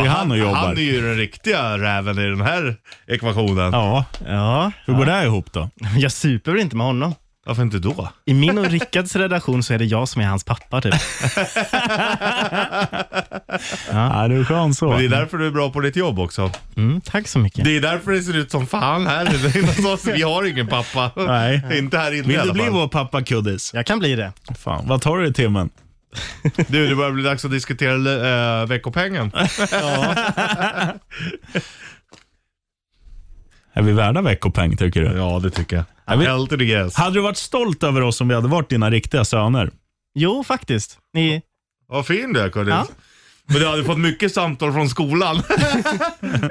S2: vid han och jobbar.
S3: han är ju den riktiga räven i den här ekvationen.
S2: Ja,
S10: Ja,
S2: hur går det här ihop då?
S10: jag super väl inte med honom.
S3: Varför inte då?
S10: I min och Rickards redaktion så är det jag som är hans pappa typ.
S2: Ja, det är skönt så.
S3: Men det är därför du är bra på ditt jobb också.
S10: Mm, tack så mycket.
S3: Det är därför det ser ut som fan här. Det är någon sorts- Vi har ingen pappa.
S2: Nej.
S3: Inte här inne i
S2: Vill
S3: alla
S2: du bli
S3: fall.
S2: vår pappa Kuddis?
S10: Jag kan bli det.
S2: Fan, vad tar du i timmen?
S3: Du, det börjar bli dags att diskutera eh, veckopengen.
S2: Är vi värda veckopeng tycker du?
S3: Ja, det tycker jag.
S2: Är vi-
S3: Hell to the yes.
S2: Hade du varit stolt över oss om vi hade varit dina riktiga söner?
S10: Jo, faktiskt. Ni,
S3: Vad fin du är, Curtis.
S10: Ja.
S3: Men du hade fått mycket samtal från skolan.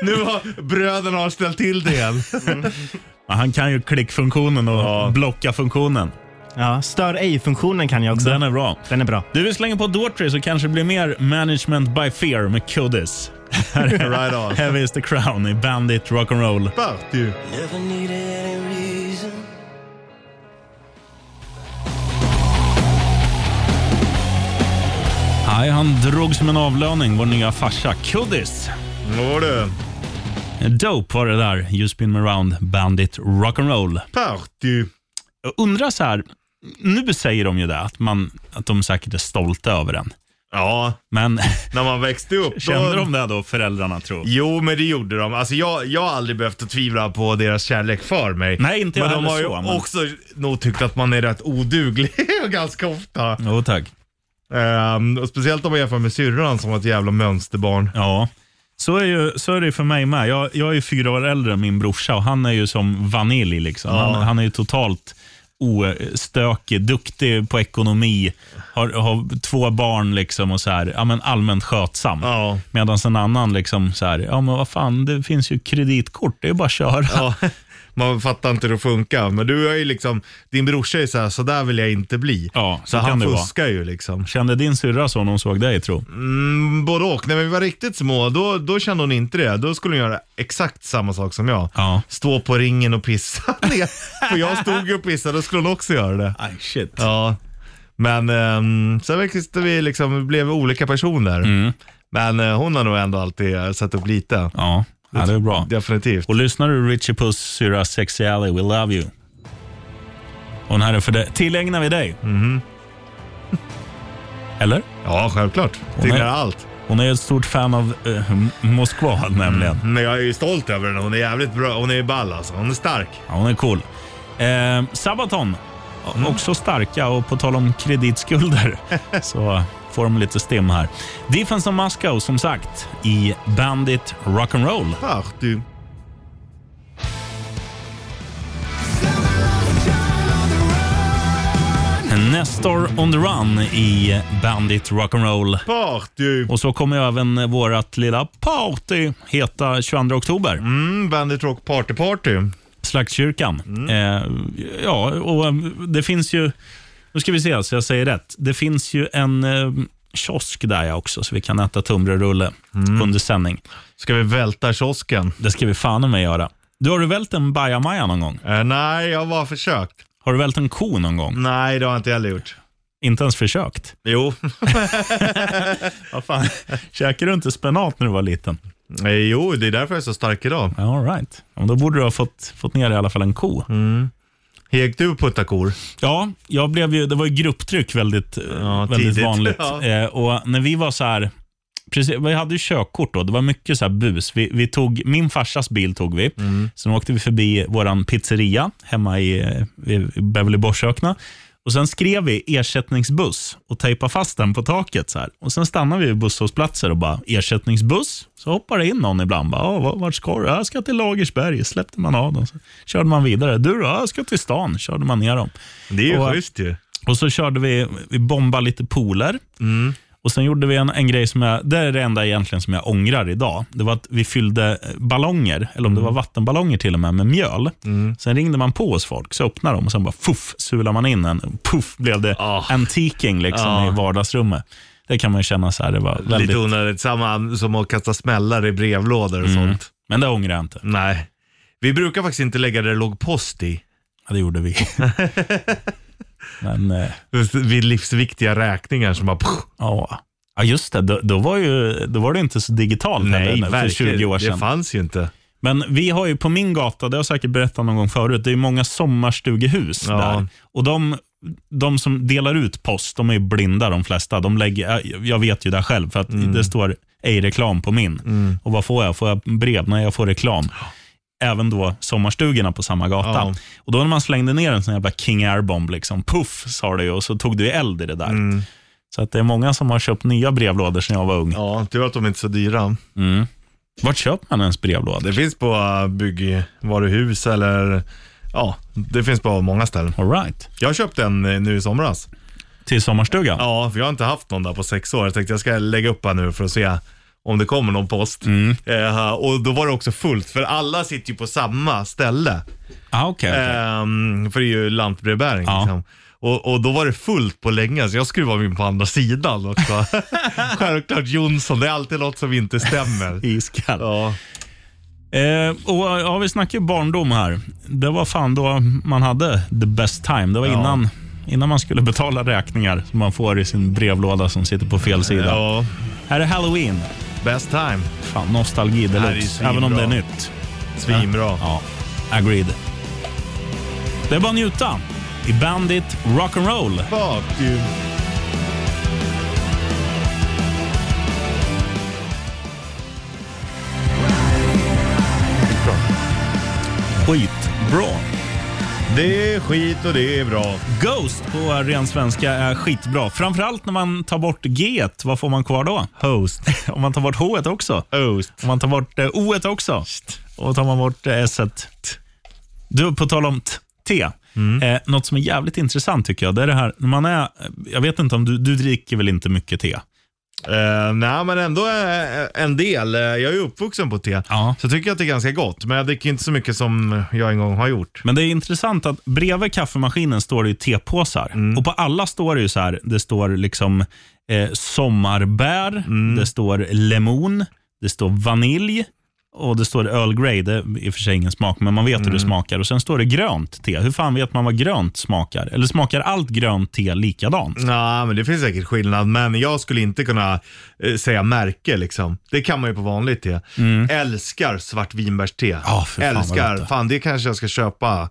S3: nu har bröderna har ställt till det igen.
S2: Ja, han kan ju klickfunktionen och blocka-funktionen.
S10: ja, stör ej-funktionen kan jag också.
S2: Den är bra.
S10: Den är bra.
S2: Du, vi slänger på Daughtry så kanske det blir mer Management by Fear med Kuddis. Här är
S3: Right on.
S2: Heavy is the Crown i Bandit Rock'n'Roll.
S3: Party.
S8: Never needed any reason.
S2: Nej, han drog som en avlöning, vår nya farsa Kuddis.
S3: Nå du.
S2: Dope var det där, You Spin Me Round, Bandit Rock'n'Roll.
S3: Party.
S2: Jag undrar så här, nu säger de ju det, att, man, att de säkert är stolta över den.
S3: Ja,
S2: Men
S3: när man växte upp. då-
S2: kände de det då, föräldrarna tror?
S3: Jo, men det gjorde de. Alltså, jag, jag har aldrig behövt att tvivla på deras kärlek för mig.
S2: Nej, inte jag
S3: Men de
S2: heller
S3: har
S2: så,
S3: ju
S2: men-
S3: också nog tyckt att man är rätt oduglig ganska ofta.
S2: Jo tack.
S3: Ehm, och speciellt om man jämför med syrran som var ett jävla mönsterbarn.
S2: Ja, så är, ju, så är det ju för mig med. Jag, jag är ju fyra år äldre än min brorsa och han är ju som vanilj. Liksom. Han, han är ju totalt ostökig, duktig på ekonomi, har, har två barn liksom och så här, ja, men allmänt skötsam.
S3: Ja.
S2: Medan en annan liksom så här, ja men vad fan, det finns ju kreditkort, det är bara att köra.
S3: Ja, man fattar inte hur det funkar. Men du är ju liksom, din brorsa är ju såhär, sådär vill jag inte bli.
S2: Ja,
S3: så
S2: så kan
S3: han
S2: det vara.
S3: fuskar ju liksom.
S2: Kände din syrra så när hon såg dig tro?
S3: Mm, både och. När vi var riktigt små, då, då kände hon inte det. Då skulle hon göra exakt samma sak som jag.
S2: Ja.
S3: Stå på ringen och pissa ner. För jag stod ju och pissade, då skulle hon också göra det.
S2: Aj, shit.
S3: Ja. Men um, sen växte vi liksom, vi blev olika personer.
S2: Mm.
S3: Men eh, hon har nog ändå alltid eh, sett upp lite.
S2: Ja, ja det är bra.
S3: Definitivt.
S2: Och lyssnar du Richie Puss syra Sexy Alley, We Love You. Och den här är för dig. Tillägnar vi dig. Eller?
S3: Ja, självklart. Tycker
S2: nej.
S3: allt.
S2: Hon är ett stort fan av eh, M- Moskva nämligen.
S3: Men jag är ju stolt över henne. Hon är jävligt bra. Hon är ju ball alltså. Hon är stark.
S2: Ja, hon är cool. Eh, Sabaton, o- också starka och på tal om kreditskulder så får de lite stim här. Defense of Moscow som sagt i Bandit Rock'n'Roll.
S3: Party.
S2: Nestor on the run i Bandit Rock'n'Roll.
S3: Party.
S2: Och så kommer ju även vårt lilla party heta 22 oktober.
S3: Mm, Bandit Rock Party Party.
S2: Slaktkyrkan. Eh, ja, och eh, det finns ju... Nu ska vi se så jag säger rätt. Det finns ju en eh, kiosk där jag också, så vi kan äta tunnbrödsrulle under sändning.
S3: Ska vi välta kiosken?
S2: Det ska vi fan med göra. Du, har du vält en bajamaja någon gång?
S3: Eh, nej, jag har bara försökt.
S2: Har du vält en ko någon gång?
S3: Nej, det har jag inte heller gjort.
S2: Inte ens försökt?
S3: Jo.
S2: Vad fan, käkade du inte spenat när du var liten?
S3: Eh, jo, det är därför jag är så stark idag.
S2: Ja, All right. Ja, men Då borde du ha fått, fått ner i alla fall en ko.
S3: Hek du puttakor?
S2: Ja, jag blev ju, det var ju grupptryck väldigt, eh,
S3: Ja,
S2: väldigt
S3: tidigt.
S2: vanligt.
S3: Ja.
S2: Eh, och när vi var så här, precis, vi hade ju körkort då, det var mycket så här bus. Vi, vi tog, min farsas bil tog vi,
S3: Mm.
S2: sen åkte vi förbi vår pizzeria hemma i, eh, i Beverly Borsökna. Och Sen skrev vi ersättningsbuss och tejpade fast den på taket. Så här. Och Sen stannade vi vid busshållplatser och bara ersättningsbuss. Så hoppar det in någon ibland. Bara, "Ja, va- vart ska du? "Ja, Jag ska till Lagersberg. Släppte man av dem. Så körde man vidare. Du då? "Ja, Jag ska till stan. Körde man ner dem.
S3: Det är ju
S2: Och-
S3: schysst ju.
S2: Och så körde vi, vi bombade lite pooler.
S3: Mm.
S2: Och sen gjorde vi en, en grej som jag, det är det enda egentligen som jag ångrar idag. Det var att vi fyllde eh, ballonger, eller
S3: Mm.
S2: om det var vattenballonger till och med, med mjöl. Sen ringde man på hos folk, så öppnade de och sen bara fuff, sulade man in en. och Puff blev det
S3: Ah.
S2: antiking liksom
S3: Ah.
S2: i vardagsrummet. Det kan man ju känna så här, det var väldigt...
S3: Lite onödigt. Samma som att kasta smällare i brevlådor och
S2: Mm.
S3: sånt.
S2: Men det ångrar jag inte.
S3: Nej. Vi brukar faktiskt inte lägga där det låg post i.
S2: Ja, det gjorde vi. Men, eh,
S3: Vid livsviktiga räkningar som bara...
S2: ja. Ja, just det. Då, då, var ju, då var det inte så digitalt heller nu, för 20 år sedan.
S3: Det fanns ju inte.
S2: Men vi har ju på min gata, det har jag säkert berättat någon gång förut, det är ju många sommarstugehus
S3: Ja.
S2: där. Och de, de som delar ut post, de är ju blinda de flesta. De lägger, jag- jag vet ju det själv, för att
S3: Mm.
S2: det står ej reklam på min. Och vad får jag? Får jag brev? Nej, jag får reklam. Även då sommarstugorna på samma gata.
S3: Ja.
S2: Och då
S3: Mm.
S2: när man slängde ner en sån jävla King Air-bomb, liksom, puff sa det ju och så tog det ju eld i det där. Så att det är många som har köpt nya brevlådor sedan jag var ung.
S3: Ja, tur att de inte är så dyra.
S2: Mm. Vart köper man ens brevlådor?
S3: Det finns på äh, byggvaruhus eller ja, det finns på många ställen.
S2: All right.
S3: Jag köpte en eh, nu i somras.
S2: Till sommarstugan?
S3: Ja, för jag har inte haft någon där på sex år. Jag tänkte jag ska lägga upp här nu för att se om det kommer någon post. Eh, och då var det också fullt, för alla sitter ju på samma ställe.
S2: Ah, okej, okej.
S3: Ehm, för det är ju lantbrevbäring.
S2: Ja.
S3: Liksom. Och, och då var det fullt på länge, så jag skruvade mig in på andra sidan också. Självklart Jonsson, det är alltid något som inte stämmer.
S2: Iskall.
S3: Ja.
S2: Eh, och, ja, vi snackar ju barndom här. Det var fan då man hade the best time. Det var innan, innan man skulle betala räkningar som man får i sin brevlåda som sitter på fel sida.
S3: ja,
S2: Här är Halloween.
S3: best time.
S2: Fan, nostalgi
S3: här är ju
S2: deluxe.
S3: svinbra.
S2: Även om det är nytt.
S3: Svinbra.
S2: Ja, agreed. Det är bara att njuta i Bandit Rock'n'Roll.
S3: Fuck you.
S2: Skitbra.
S3: Det är skit och det är bra.
S2: Ghost på ren svenska är skitbra. Framförallt när man tar bort G, vad får man kvar då? Host. Om man tar bort H också.
S3: Host.
S2: Om man tar bort eh, O också. Och tar man bort eh, S. Du, på tal om t- T. Eh, något som är jävligt intressant tycker jag, det är det här när man är, jag vet inte om du, du dricker väl inte mycket te?
S3: Eh, nej, men ändå eh, en del. Eh, Jag är ju uppvuxen på te,
S2: Ja.
S3: så jag tycker att det är ganska gott. Men jag dricker inte så mycket som jag en gång har gjort.
S2: Men det är intressant att bredvid kaffemaskinen står det ju tepåsar.
S3: Mm.
S2: Och på alla står det ju så här, det står liksom eh, sommarbär,
S3: Mm.
S2: det står lemon, det står vanilj och det står Earl Grey. Det är i och för sig ingen smak, men man vet
S3: Mm.
S2: hur det smakar. Och Sen står det grönt te. Hur fan vet man vad grönt smakar? Eller smakar allt grönt te likadant?
S3: Nej, men det finns säkert skillnad. Men jag skulle inte kunna eh, säga märke liksom. Det kan man ju på vanligt te. Älskar svartvinbärste.
S2: Mm. Ja, för fan vad
S3: Älskar.
S2: gott det.
S3: fan, det kanske jag ska köpa.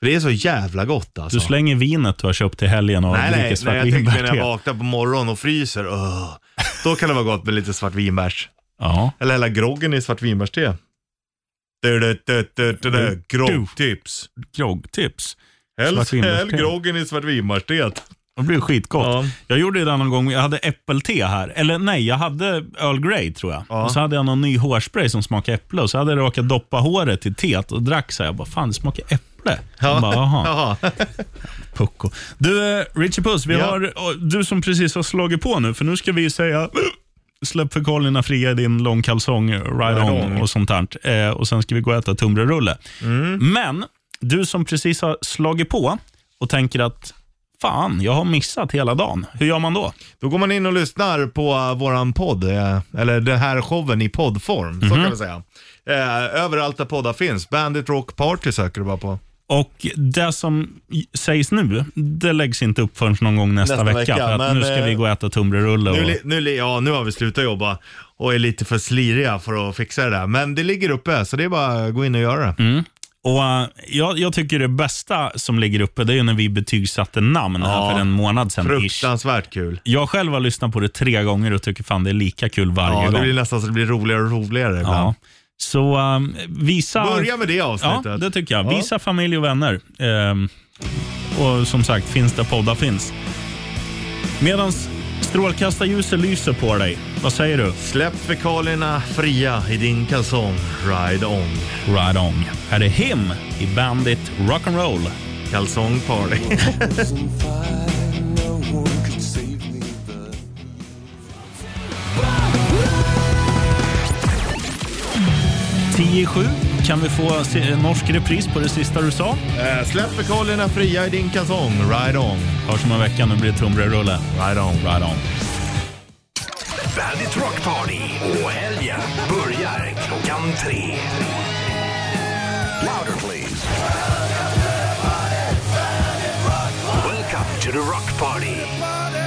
S3: För det är så jävla gott alltså.
S2: Du slänger vinet du har köpt till helgen och
S3: Nej, nej,
S2: dricker
S3: nej, jag tänkte
S2: svartvinbärste.
S3: när jag vaknar på morgonen och fryser. Öh, då kan det vara gott med lite svartvinbärs.
S2: Ja.
S3: Eller hela groggen i svartvinbärste. Du, du, du, du, du, du. Groggtips.
S2: Groggtips.
S3: Helst
S2: Svartvinbärste.
S3: häll groggen i svartvinbärste.
S2: Det blir skitgott.
S3: Ja.
S2: Jag gjorde ju det någon gång, jag hade äppelte här. Eller nej, jag hade Earl Grey tror jag. Och så hade jag någon ny hårspray som smakade äpple och så hade jag råkat doppa håret i teet och drack så här. Jag bara, fan det smakar äpple. Ja. Bara, Jaha,
S3: Jaha.
S2: pucko. Du, eh, Richie Puss, vi
S3: Ja.
S2: har, och du som precis har slagit på nu, för nu ska vi säga Släpp förkollingarna fria i din långkalsong, ride on
S3: on. Mm.
S2: och sånt där. Eh, och sen ska vi gå och äta tunnbrödsrulle. Men du som precis har slagit på och tänker att fan, jag har missat hela dagen. Hur gör man då?
S3: Då går man in och lyssnar på eh, våran podd, eh, eller den här showen i poddform, så kan vi säga. Eh, överallt där poddar finns. Bandit Rock Party söker du bara på.
S2: Och Det som i- sägs nu, det läggs inte upp förrän någon gång nästa,
S3: Nästa
S2: vecka.
S3: vecka,
S2: för att
S3: men,
S2: nu ska
S3: eh,
S2: vi gå och äta tunnbrödsrulle.
S3: Nu,
S2: Och...
S3: li- nu, li- ja, nu har vi slutat jobba och är lite för sliriga för att fixa det där. Men det ligger uppe, så det är bara att gå in och göra det.
S2: Och, eh, jag, jag tycker det bästa som ligger uppe, det är ju när vi betygsatte namn här
S3: Ja.
S2: för en månad sedan. Ish.
S3: Fruktansvärt kul.
S2: Jag själv har lyssnat på det tre gånger och tycker fan det är lika kul varje
S3: Ja, det
S2: gång.
S3: blir nästan så det blir roligare och roligare
S2: Ja.
S3: ibland.
S2: Så ehm, visa...
S3: Börja med det
S2: Ja,
S3: avsnittet.
S2: det tycker jag. Visa familj och vänner. Ehm, och som sagt, finns där poddar finns. Medan strålkastarljuset lyser på dig, vad säger du?
S3: Släpp fekalierna fria i din kalsong. Ride on.
S2: Right on. Här är Him i Bandit Rock'n'Roll.
S3: Kalsong party.
S2: Tio i sju. Kan vi få se, en norsk repris på det sista du sa?
S3: Eh, Släpp fekalierna fria i din kalsong. Ride on.
S2: Hörs om en vecka. Nu blir det tunnbrödsrulle.
S3: Ride on.
S2: Right on.
S11: Bandit Rock Party och helgen börjar klockan tre. Louder please. Welcome to the Rock Party.